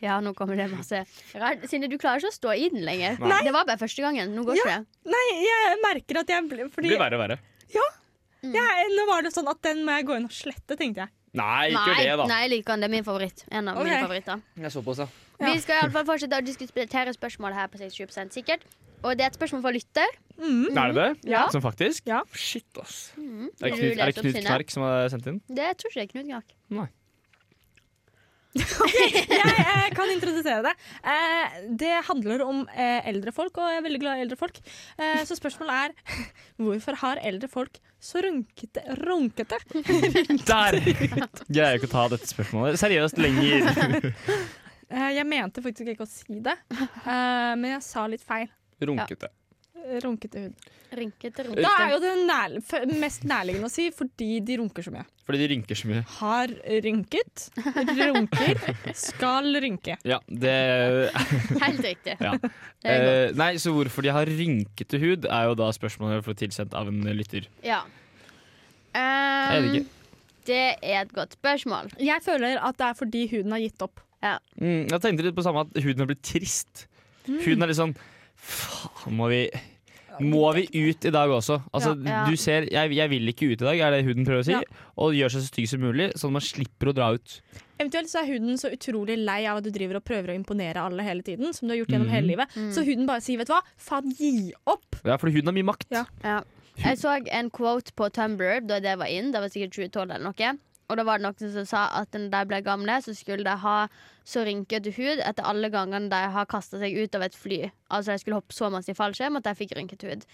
Speaker 3: Ja, nå kommer det masse rart. Sinde, du klarer ikke å stå i den lenger.
Speaker 2: Nei.
Speaker 3: Det var bare første gangen. Nå går ikke det.
Speaker 4: Nei, jeg merker at jeg ble
Speaker 2: Det
Speaker 4: fordi,
Speaker 2: blir verre og verre.
Speaker 4: jeg, Nå var det sånn at den må jeg gå inn og slette, tenkte jeg.
Speaker 2: Nei, ikke gjør
Speaker 3: Nei,
Speaker 2: det, da.
Speaker 3: nei, jeg liker den. Det er min favoritt. En av
Speaker 4: Ok.
Speaker 3: mine favoritter.
Speaker 2: Jeg så på altså. oss, ja.
Speaker 3: Vi skal i alle fall fortsette å diskutere spørsmålet her på 67 sikkert. Og det er et spørsmål fra lytter.
Speaker 2: Er det det?
Speaker 3: Ja.
Speaker 2: Som faktisk?
Speaker 4: Ja.
Speaker 2: Shit, ass. Er
Speaker 3: Vil
Speaker 2: det
Speaker 3: du
Speaker 2: Knut,
Speaker 3: lese
Speaker 2: er det
Speaker 3: opp,
Speaker 2: Knut
Speaker 3: Synne?
Speaker 2: Knark som har sendt inn?
Speaker 3: Det tror ikke jeg er Knut Gnak.
Speaker 4: Jeg, eh, kan introdusere det. Eh, det handler om eh, eldre folk, og jeg er veldig glad i eldre folk. Eh, så spørsmålet er hvorfor har eldre folk så runkete, runkete
Speaker 2: Der! Greier ikke å ta dette spørsmålet seriøst lenger.
Speaker 4: Eh, Jeg mente faktisk ikke å si det, eh, men jeg sa litt feil.
Speaker 2: Runkete.
Speaker 4: Runkete hud.
Speaker 3: Rynkete,
Speaker 4: Da er
Speaker 3: rynkete.
Speaker 4: jo det nær, f- mest nærliggende å si fordi de runker så mye.
Speaker 2: Fordi de rynker så mye.
Speaker 4: Har rynket, runker, skal rynke.
Speaker 2: Ja, det
Speaker 3: Helt riktig.
Speaker 2: Ja.
Speaker 3: Det er godt.
Speaker 2: Eh, nei, så hvorfor de har rynkete hud, er jo da spørsmålet jeg får tilsendt av en lytter.
Speaker 3: Ja.
Speaker 2: Jeg vet
Speaker 3: Um,
Speaker 2: ikke.
Speaker 3: det er et godt spørsmål.
Speaker 4: Jeg føler at det er fordi huden har gitt opp.
Speaker 2: Mm, jeg tenkte litt på samme at huden har blitt trist.
Speaker 3: Mm.
Speaker 2: Huden er litt sånn Faen, må vi må vi ut i dag også? Altså,
Speaker 3: Ja.
Speaker 2: du ser, jeg, 'jeg vil ikke ut i dag', er det huden prøver å si.
Speaker 4: Ja.
Speaker 2: Og gjør seg så stygg som mulig, sånn at man slipper å dra ut.
Speaker 4: Eventuelt så er huden så utrolig lei av at du driver og prøver å imponere alle hele tiden, som du har gjort
Speaker 2: Mhm.
Speaker 4: gjennom hele livet. Så huden bare sier, vet du hva, faen, gi opp!
Speaker 2: Ja, fordi huden har mye makt.
Speaker 4: Ja.
Speaker 3: Ja. Jeg så en quote på Tumblr da det var inn. Det var sikkert 2012 eller noe. Og da var det noen som sa at når de ble gamle, så skulle de ha så rynkete hud etter alle gangene de har kasta seg ut av et fly. Altså de skulle hoppe så masse i fallskjerm at de fikk rynkete hud.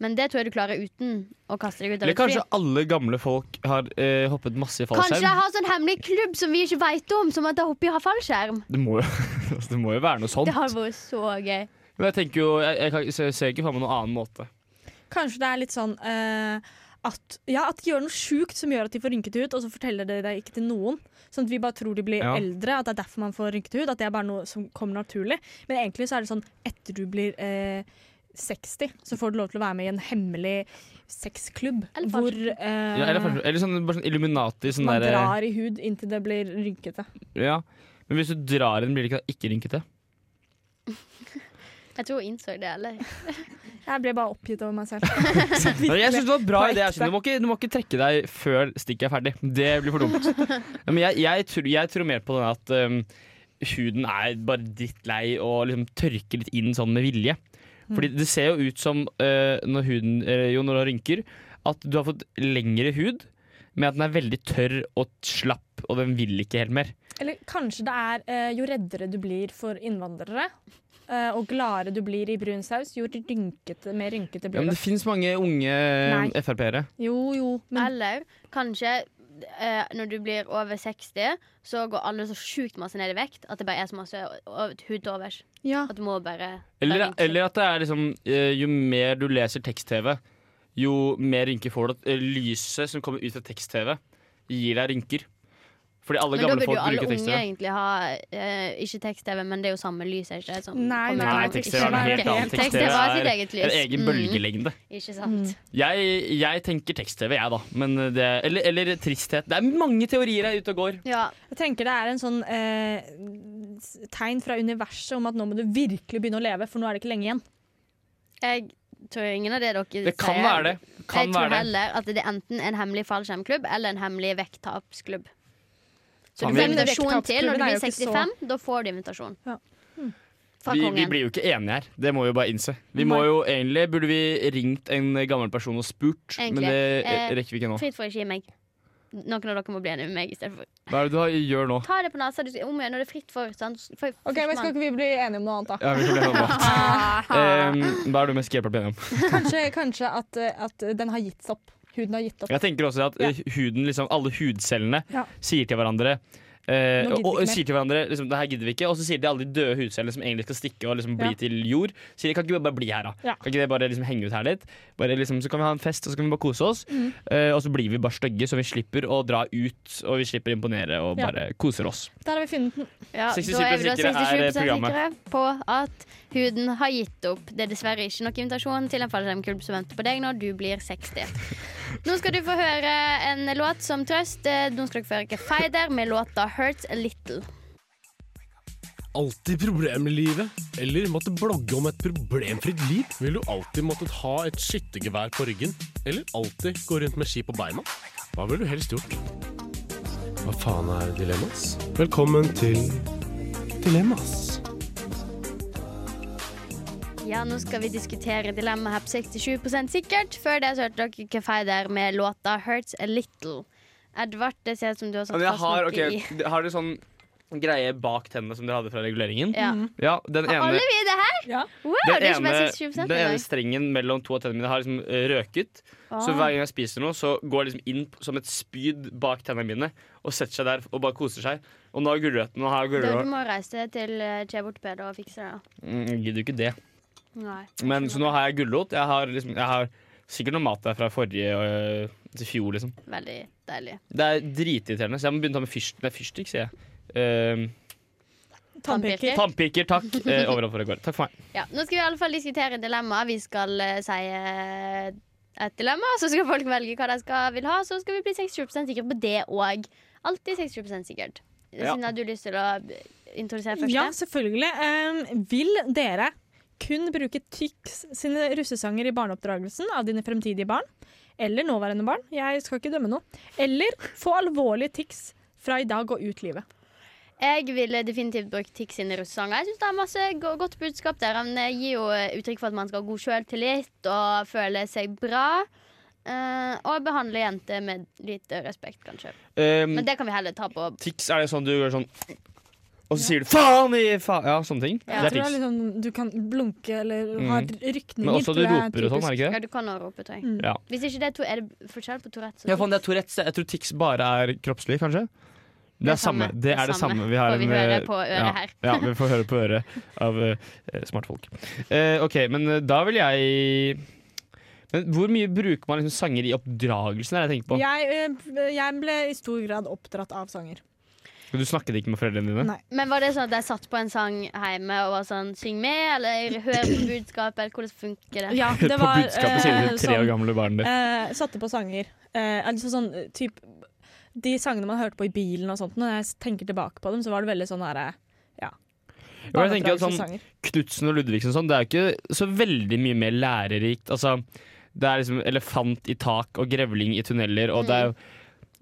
Speaker 3: Men det tror jeg du klarer uten å kaste deg ut av
Speaker 2: Eller
Speaker 3: et fly.
Speaker 2: kanskje alle gamle folk har eh, hoppet masse i
Speaker 3: Kanskje de
Speaker 2: fallskjerm.
Speaker 3: har sånn hemmelig klubb som vi ikke veit om, som at de hopper i fallskjerm.
Speaker 2: Det må, jo, altså, det må jo være noe sånt.
Speaker 3: Det har vært så gøy.
Speaker 2: Men jeg tenker jo, jeg, jeg, kan- jeg ser ikke for meg noen annen måte.
Speaker 4: Kanskje det er litt sånn eh, at, ja, at de gjør noe sjukt som gjør at de får rynkete hud, og så forteller de det ikke til noen. Sånn at vi bare tror de blir
Speaker 2: Ja.
Speaker 4: eldre, at det er derfor man får rynkete hud. At det er bare noe som kommer naturlig. Men egentlig så er det sånn etter du blir eh, 60 så får du lov til å være med i en hemmelig sexklubb.
Speaker 3: Eller
Speaker 4: Hvor
Speaker 3: farsklubb.
Speaker 4: eh,
Speaker 2: Ja, eller, kanskje- eller sånn, bare sånn Illuminati. Sånn
Speaker 4: man
Speaker 2: der,
Speaker 4: drar i hud inntil det blir rynkete.
Speaker 2: ja. Men hvis du drar i den, blir det ikke, ikke rynkete.
Speaker 3: Jeg tror hun innså det, eller?
Speaker 4: Jeg ble bare oppgitt over meg selv.
Speaker 2: Men jeg synes det var en bra
Speaker 4: På
Speaker 2: idé.
Speaker 4: ekte.
Speaker 2: Aksel. Du, må ikke- du må ikke trekke deg før stikket er ferdig. Det blir for dumt. Ja, Men jeg, jeg, tror, jeg tror mer på den at um, huden er bare drittlei og liksom tørker litt inn sånn med vilje.
Speaker 4: Mm.
Speaker 2: Fordi det ser jo ut som eh, når huden eh, jo, når du har rynker, at du har fått lengre hud, men at den er veldig tørr og slapp, og den vil ikke helt mer.
Speaker 4: Eller kanskje det er eh, jo reddere du blir for innvandrere, eh, og gladere du blir i brun saus, jo rynkete, mer rynkete
Speaker 2: Ja,
Speaker 4: blir
Speaker 2: men
Speaker 4: du.
Speaker 2: det fins mange unge ehm,
Speaker 4: Nei.
Speaker 2: Frp-ere.
Speaker 4: Jo, jo, men
Speaker 3: Eller kanskje eh, når du blir over 60, så går alle så sjukt masse ned i vekt at det bare er så masse o- o- hud til overs.
Speaker 4: ja.
Speaker 3: At du må bare
Speaker 2: Eller,
Speaker 3: bare rynke.
Speaker 2: eller at det er liksom eh, Jo mer du leser tekst-TV, jo mer rynker får du. At, eh, Lyset som kommer ut av tekst-TV, gir deg rynker. Fordi alle
Speaker 3: Men da
Speaker 2: gamle
Speaker 3: burde
Speaker 2: folk
Speaker 3: jo alle
Speaker 2: bruker
Speaker 3: unge
Speaker 2: tekst-TV.
Speaker 3: egentlig ha eh, ikke tekst-TV, men det er jo samme lys, er ikke det? Som
Speaker 4: Nei,
Speaker 3: kommer
Speaker 4: nei,
Speaker 3: fra-
Speaker 2: Nei, tekst-TV er noe helt annet.
Speaker 3: Tekst-TV har sitt
Speaker 2: er en
Speaker 3: eget lys.
Speaker 2: egen bølgelengde.
Speaker 3: Mm, ikke sant.
Speaker 2: Jeg, jeg tenker tekst-TV, jeg, da. Men det, eller, eller tristhet. Det er mange teorier her ute og går.
Speaker 3: Ja,
Speaker 4: Jeg tenker det er en sånn eh, s- tegn fra universet om at nå må du virkelig begynne å leve, for nå er det ikke lenge igjen.
Speaker 3: jeg tror ingen av det dere
Speaker 2: Det kan
Speaker 3: sier.
Speaker 2: være det.
Speaker 3: jeg
Speaker 2: Kan
Speaker 3: tror
Speaker 2: være det.
Speaker 3: heller at det er enten en hemmelig fallskjermklubb eller en hemmelig vekttapsklubb. Så
Speaker 2: Kan
Speaker 3: du får
Speaker 2: vi-
Speaker 3: invitasjon til når du
Speaker 4: Vekttapsklubben er
Speaker 3: blir
Speaker 4: jo ikke så-
Speaker 3: 65. Da får du invitasjon.
Speaker 4: Ja.
Speaker 3: Fra
Speaker 2: Hmm. Vi, vi
Speaker 3: kongen.
Speaker 2: blir jo ikke enige her. Det må vi jo bare innse. Vi må
Speaker 4: Nei.
Speaker 2: jo egentlig Burde vi ringt en gammel person og spurt,
Speaker 3: Egentlig.
Speaker 2: men det eh,
Speaker 3: Eh,
Speaker 2: rekker vi ikke nå.
Speaker 3: Fritt for ikke gi meg. Noen av dere må bli enig med meg istedenfor.
Speaker 2: Hva er det du har- gjør nå?
Speaker 3: Ta det på nesa. Du skal om igjen når det er fritt for. Sant? for
Speaker 4: Ok, men Skal ikke vi bli enige om noe annet, da?
Speaker 2: Ja, vi kan bli enige om det. Ehm, Hva er du mest skeptisk til å bli enig om?
Speaker 4: Kanskje, kanskje at, eh, at den har gitt seg opp. Huden har gitt opp.
Speaker 2: Jeg tenker også at eh, huden, liksom, alle hudcellene
Speaker 4: Ja.
Speaker 2: sier til hverandre eh,
Speaker 4: Nå gidder vi
Speaker 2: og, og
Speaker 4: ikke mer.
Speaker 2: sier til hverandre liksom, det her gidder vi ikke, og så sier de alle de døde hudcellene som egentlig skal stikke og liksom, bli
Speaker 4: Ja.
Speaker 2: til jord. Sier de kan ikke vi bare bli her, da?
Speaker 4: Ja.
Speaker 2: Kan ikke det bare liksom, henge ut her litt? Bare, liksom, så kan vi ha en fest, og så kan vi bare kose oss.
Speaker 4: Mm.
Speaker 2: Eh, og så blir vi bare stygge, så vi slipper å dra ut, og vi slipper å imponere og
Speaker 4: Ja.
Speaker 2: bare koser oss.
Speaker 4: Der har vi funnet den.
Speaker 3: Ja, da
Speaker 2: 67%
Speaker 3: er vi da
Speaker 2: sikre er eh,
Speaker 3: 67
Speaker 2: programmet.
Speaker 3: sikre på at huden har gitt opp. Det er dessverre ikke nok invitasjon til en fallskjermklubb som venter på deg når du blir 60. Nå skal du få høre en låt som trøst. Eh, Nå skal dere få høre Kefeider med låta 'Hurts A Little'.
Speaker 9: alltid problemer i livet? Eller måtte blogge om et problemfritt liv? Vil du alltid måttet ha et skyttergevær på ryggen? Eller alltid gå rundt med ski på beina? Hva ville du helst gjort? Hva faen er dilemmas? Velkommen til Dilemmas.
Speaker 3: Ja, nå skal vi diskutere dilemma her på 67 sikkert. Før det så hørte dere Kefeider med låta 'Hurts A Little'. Edvard, det ser ut som du har satt fast noe i.
Speaker 2: har du sånn greie bak tennene som dere hadde fra reguleringen?
Speaker 3: Ja.
Speaker 2: Ja, den
Speaker 3: Har alle vi det her?
Speaker 4: Ja.
Speaker 3: Wow, det er
Speaker 2: den
Speaker 3: ikke bare
Speaker 2: ene,
Speaker 3: 67
Speaker 2: den
Speaker 3: engang.
Speaker 2: ene strengen mellom to av tennene mine har liksom eh, røket. Så
Speaker 3: Ah.
Speaker 2: hver gang jeg spiser noe, så går jeg liksom inn p- som et spyd bak tennene mine og setter seg der og bare koser seg. Og nå har gulrøttene og har
Speaker 3: Da, Du
Speaker 2: gulrøtter.
Speaker 3: må reise til eh, Kjell Bortpeder og fikse det. da.
Speaker 2: Mm, jeg gidder jo ikke det.
Speaker 3: Nei.
Speaker 2: Men så nå har jeg gulrot. Jeg har, liksom, jeg har sikkert noe mat der fra forrige øh, til fjor, liksom.
Speaker 3: Veldig deilig.
Speaker 2: Det er dritirriterende, så jeg må begynne å ta med fyrst, nei, fyrstikk, sier jeg. Eh,
Speaker 3: Tannpirker.
Speaker 2: tannpirker, takk. eh, overalt hvor jeg går. Takk for meg.
Speaker 3: Ja, nå skal vi i alle fall diskutere dilemma. Vi skal eh, si eh, et dilemma, så skal folk velge hva de skal, vil ha. Så skal vi bli 67 sikre på det òg. Alltid 67 sikkert.
Speaker 2: Ja.
Speaker 3: Siden har du lyst til å eh, introdusere første?
Speaker 4: Ja, selvfølgelig. Ehm, vil dere kun bruke Tyx sine russesanger i barneoppdragelsen av dine fremtidige barn? Eller nåværende barn? Jeg skal ikke dømme noe. Eller få alvorlige tics fra i dag og ut livet.
Speaker 3: Jeg ville definitivt brukt Tix sine russesanger. Jeg synes det er masse go godt budskap der. Han eh, gir jo eh, uttrykk for at man skal ha god selvtillit og føle seg bra. eh, og behandle jenter med lite respekt, kanskje.
Speaker 2: Um,
Speaker 3: Men det kan vi heller ta på.
Speaker 2: Tics er det sånn du gjør sånn Og så sier du faen i faen Ja, sånne ting.
Speaker 3: Ja.
Speaker 2: Det
Speaker 4: Jeg
Speaker 2: er
Speaker 4: tror det er
Speaker 2: tics.
Speaker 4: liksom, du kan blunke eller ha
Speaker 2: Mm.
Speaker 4: rykninger.
Speaker 2: Men også du
Speaker 4: tror jeg er
Speaker 2: roper og sånn,
Speaker 4: typisk.
Speaker 2: er det ikke
Speaker 3: Ja,
Speaker 2: det?
Speaker 3: du kan ha ropet, tror jeg.
Speaker 4: Mm.
Speaker 2: Ja.
Speaker 3: Hvis ikke det er to, er det forskjell på Tourettes? og
Speaker 2: Ja, faen, det er Tourettes. Jeg tror tics bare er kroppslig, kanskje. Det er samme. Det er det samme. Vi har
Speaker 3: Får vi
Speaker 2: en,
Speaker 3: høre
Speaker 2: eh,
Speaker 3: på øret
Speaker 2: ja.
Speaker 3: her.
Speaker 2: Ja, vi får høre på øret av eh, smarte folk. Eh, OK, men eh, da vil jeg Men hvor mye bruker man liksom sanger i oppdragelsen, er det jeg tenker på?
Speaker 4: Jeg, eh, jeg ble i stor grad oppdratt av sanger.
Speaker 2: Men du snakket ikke med foreldrene dine?
Speaker 4: Nei.
Speaker 3: Men var det sånn at jeg satt på en sang hjemme og var sånn Syng med, eller hør på budskapet, eller hvordan funker det?
Speaker 4: Ja,
Speaker 2: Hør
Speaker 4: det
Speaker 2: på
Speaker 4: var
Speaker 2: budskapet sier
Speaker 4: eh,
Speaker 2: det tre år
Speaker 4: sånn,
Speaker 2: gamle barnet ditt.
Speaker 4: eh, Satte på sanger. Eh, altså sånn eh, typ De sangene man hørte på i bilen og sånt, når jeg tenker tilbake på dem, så var det veldig sånn herre ja.
Speaker 2: Jo, jeg tenker at sånn-
Speaker 4: barneoppdragelsessanger.
Speaker 2: Knutsen og Ludvigsen og sånn, det er jo ikke så veldig mye mer lærerikt. Altså, det er liksom elefant i tak og grevling i tunneler, og det er jo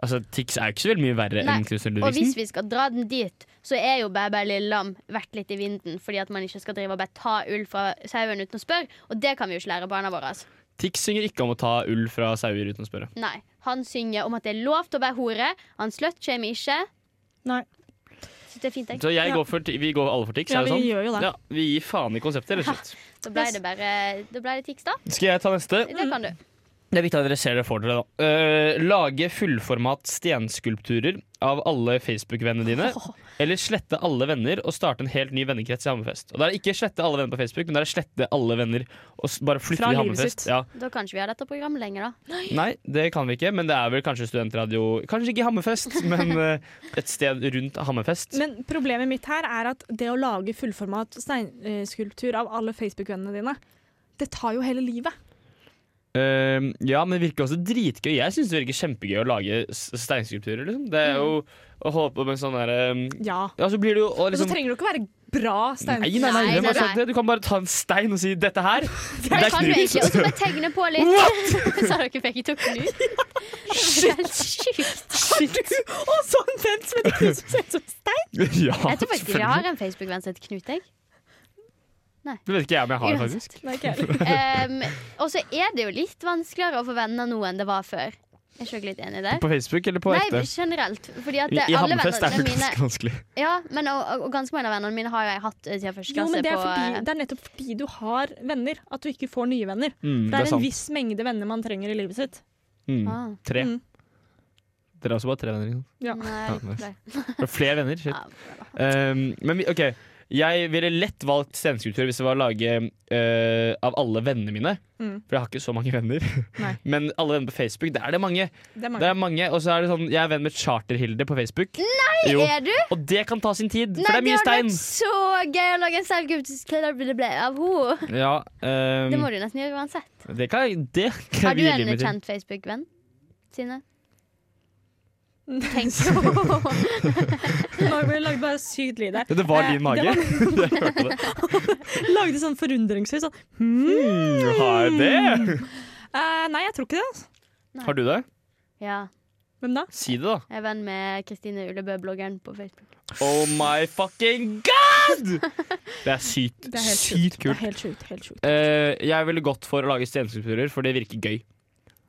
Speaker 2: Altså, Tix er jo ikke så veldig mye verre
Speaker 3: Nei,
Speaker 2: enn Knutsen og
Speaker 3: Og hvis
Speaker 2: Ludvigsen.
Speaker 3: vi skal dra den dit, så er jo Bæ Bæ Lille Lam vært litt i vinden fordi at man ikke skal drive og bare ta ull fra sauen uten å spørre, og det kan vi jo ikke lære barna våre. altså.
Speaker 2: Tix synger ikke om å ta ull fra sauer uten å spørre.
Speaker 3: Nei. Han synger om at det er lov til å være hore. Han slutshamer ikke.
Speaker 4: Nei.
Speaker 3: Syns det er fint, jeg.
Speaker 2: Så jeg
Speaker 4: Ja.
Speaker 2: går for, ti- vi går alle for Tix,
Speaker 4: Ja,
Speaker 2: er det
Speaker 4: vi
Speaker 2: sånn?
Speaker 4: gjør jo det.
Speaker 2: Ja, vi gir faen i konseptet, rett og slett.
Speaker 3: Da ble det bare Da ble det tics, da.
Speaker 2: Skal jeg ta neste?
Speaker 3: Det kan du.
Speaker 2: Det er viktig at dere ser det for dere, da. Eh, lage fullformat stenskulpturer av alle Facebook-vennene dine. Eller slette alle venner og starte en helt ny vennekrets i Hammerfest. Og da er det ikke slette alle venner på Facebook, men da er det slette alle venner og s- bare flytte
Speaker 4: Fra
Speaker 2: til
Speaker 4: livet
Speaker 2: Hammerfest.
Speaker 4: sitt.
Speaker 2: Ja.
Speaker 3: Da kan ikke vi ha dette programmet lenger, da.
Speaker 2: Nei, det kan vi ikke, men det er vel kanskje studentradio Kanskje ikke i Hammerfest, men eh, et sted rundt Hammerfest.
Speaker 4: Men problemet mitt her er at det å lage fullformat steinskulptur av alle Facebook-vennene dine, det tar jo hele livet.
Speaker 2: Eh, ja, men det virker også dritgøy. Jeg syns det virker kjempegøy å lage s- steinskulpturer, liksom. Det er jo å holde på med sånn derre
Speaker 4: Ja.
Speaker 2: Ja, så blir det jo
Speaker 4: Og
Speaker 2: å
Speaker 4: så
Speaker 2: liksom
Speaker 4: trenger du ikke være bra stein...
Speaker 2: Nei, nei, nei,
Speaker 3: Nei,
Speaker 2: hvem har
Speaker 3: nei,
Speaker 2: sagt
Speaker 3: nei.
Speaker 2: det? Du kan bare ta en stein og si 'dette her'. Det
Speaker 3: Det
Speaker 2: er
Speaker 3: kan
Speaker 2: knut.
Speaker 3: du egentlig. Og så bare tegne på litt. Sa dere begge to knut? Shit! Helt sjukt.
Speaker 4: Og så en venn som heter Knut som ser ut som stein!
Speaker 2: ja,
Speaker 3: Jeg tror faktisk jeg har en Facebook-venn som heter Knut, jeg.
Speaker 2: Det vet ikke jeg om jeg har, faktisk.
Speaker 3: Uansett.
Speaker 4: Nei, ikke heller.
Speaker 3: Ehm, og så er det jo litt vanskeligere å få venner nå enn det var før. Er ikke dere litt enig der?
Speaker 2: På Facebook eller på
Speaker 3: Nei,
Speaker 2: ekte?
Speaker 3: generelt. Fordi at
Speaker 2: I,
Speaker 3: eh,
Speaker 2: i
Speaker 3: alle
Speaker 2: Hammerfest er
Speaker 3: vennene
Speaker 2: det
Speaker 3: mine
Speaker 2: ganske vanskelig.
Speaker 3: Ja, men og, og- og ganske mange av vennene mine har jo jeg hatt eh, siden første
Speaker 4: Jo, men
Speaker 3: klasse
Speaker 4: det er,
Speaker 3: på eh,
Speaker 4: fordi, det er nettopp fordi du har venner at du ikke får nye venner.
Speaker 2: Mm,
Speaker 4: Det er en viss mengde venner man trenger i livet sitt.
Speaker 2: Mm,
Speaker 3: ah,
Speaker 2: tre.
Speaker 4: Mm.
Speaker 2: Dere er også bare tre venner. Ikke?
Speaker 4: Ja.
Speaker 3: Nei,
Speaker 2: Ja,
Speaker 3: ikke
Speaker 2: nice.
Speaker 3: flere.
Speaker 2: sant? Flere venner. Shit.
Speaker 3: Ja,
Speaker 2: Um, men vi- OK. Jeg ville lett valgt stenskulptur hvis det var å lage eh, av alle vennene mine.
Speaker 4: Mm.
Speaker 2: For jeg har ikke så mange venner.
Speaker 4: Nei.
Speaker 2: Men alle venner på Facebook, det er det mange.
Speaker 4: Det er
Speaker 2: Det
Speaker 4: mange.
Speaker 2: er mange, Og så er det sånn, jeg er venn med Charterhilde på Facebook. Nei,
Speaker 3: Er du?
Speaker 2: Og det kan ta sin tid, for
Speaker 3: Nei,
Speaker 2: det er mye
Speaker 3: hadde vært
Speaker 2: stein.
Speaker 3: så gøy å lage en selvgudskledde av henne!
Speaker 2: Ja, ehm,
Speaker 3: Det må du nesten gjøre uansett.
Speaker 2: det kan jeg det kan
Speaker 3: Har du
Speaker 2: jeg gi
Speaker 3: en
Speaker 2: livet til.
Speaker 3: kjent Facebook-venn, Sine? Tenk på
Speaker 4: Marvel lagde bare sykt lyd der.
Speaker 2: Ja, Det var
Speaker 4: Eh,
Speaker 2: din mage.
Speaker 4: det
Speaker 2: Jeg hørte det.
Speaker 4: Lagde sånn forundringshus. Sånn.
Speaker 2: Mm, Har jeg det?
Speaker 4: Eh, nei, jeg tror ikke det. altså.
Speaker 2: Har du det?
Speaker 3: Ja,
Speaker 4: Hvem da?
Speaker 2: Si det, da.
Speaker 3: jeg er venn med Kristine Ullebø, bloggeren på Facebook.
Speaker 2: Oh my fucking god! Det er sykt,
Speaker 4: Det er helt
Speaker 2: sykt
Speaker 4: Det er
Speaker 2: kult.
Speaker 4: helt sjukt. Helt sjukt.
Speaker 2: Eh, jeg ville gått for å lage stenskulpturer, for det virker gøy.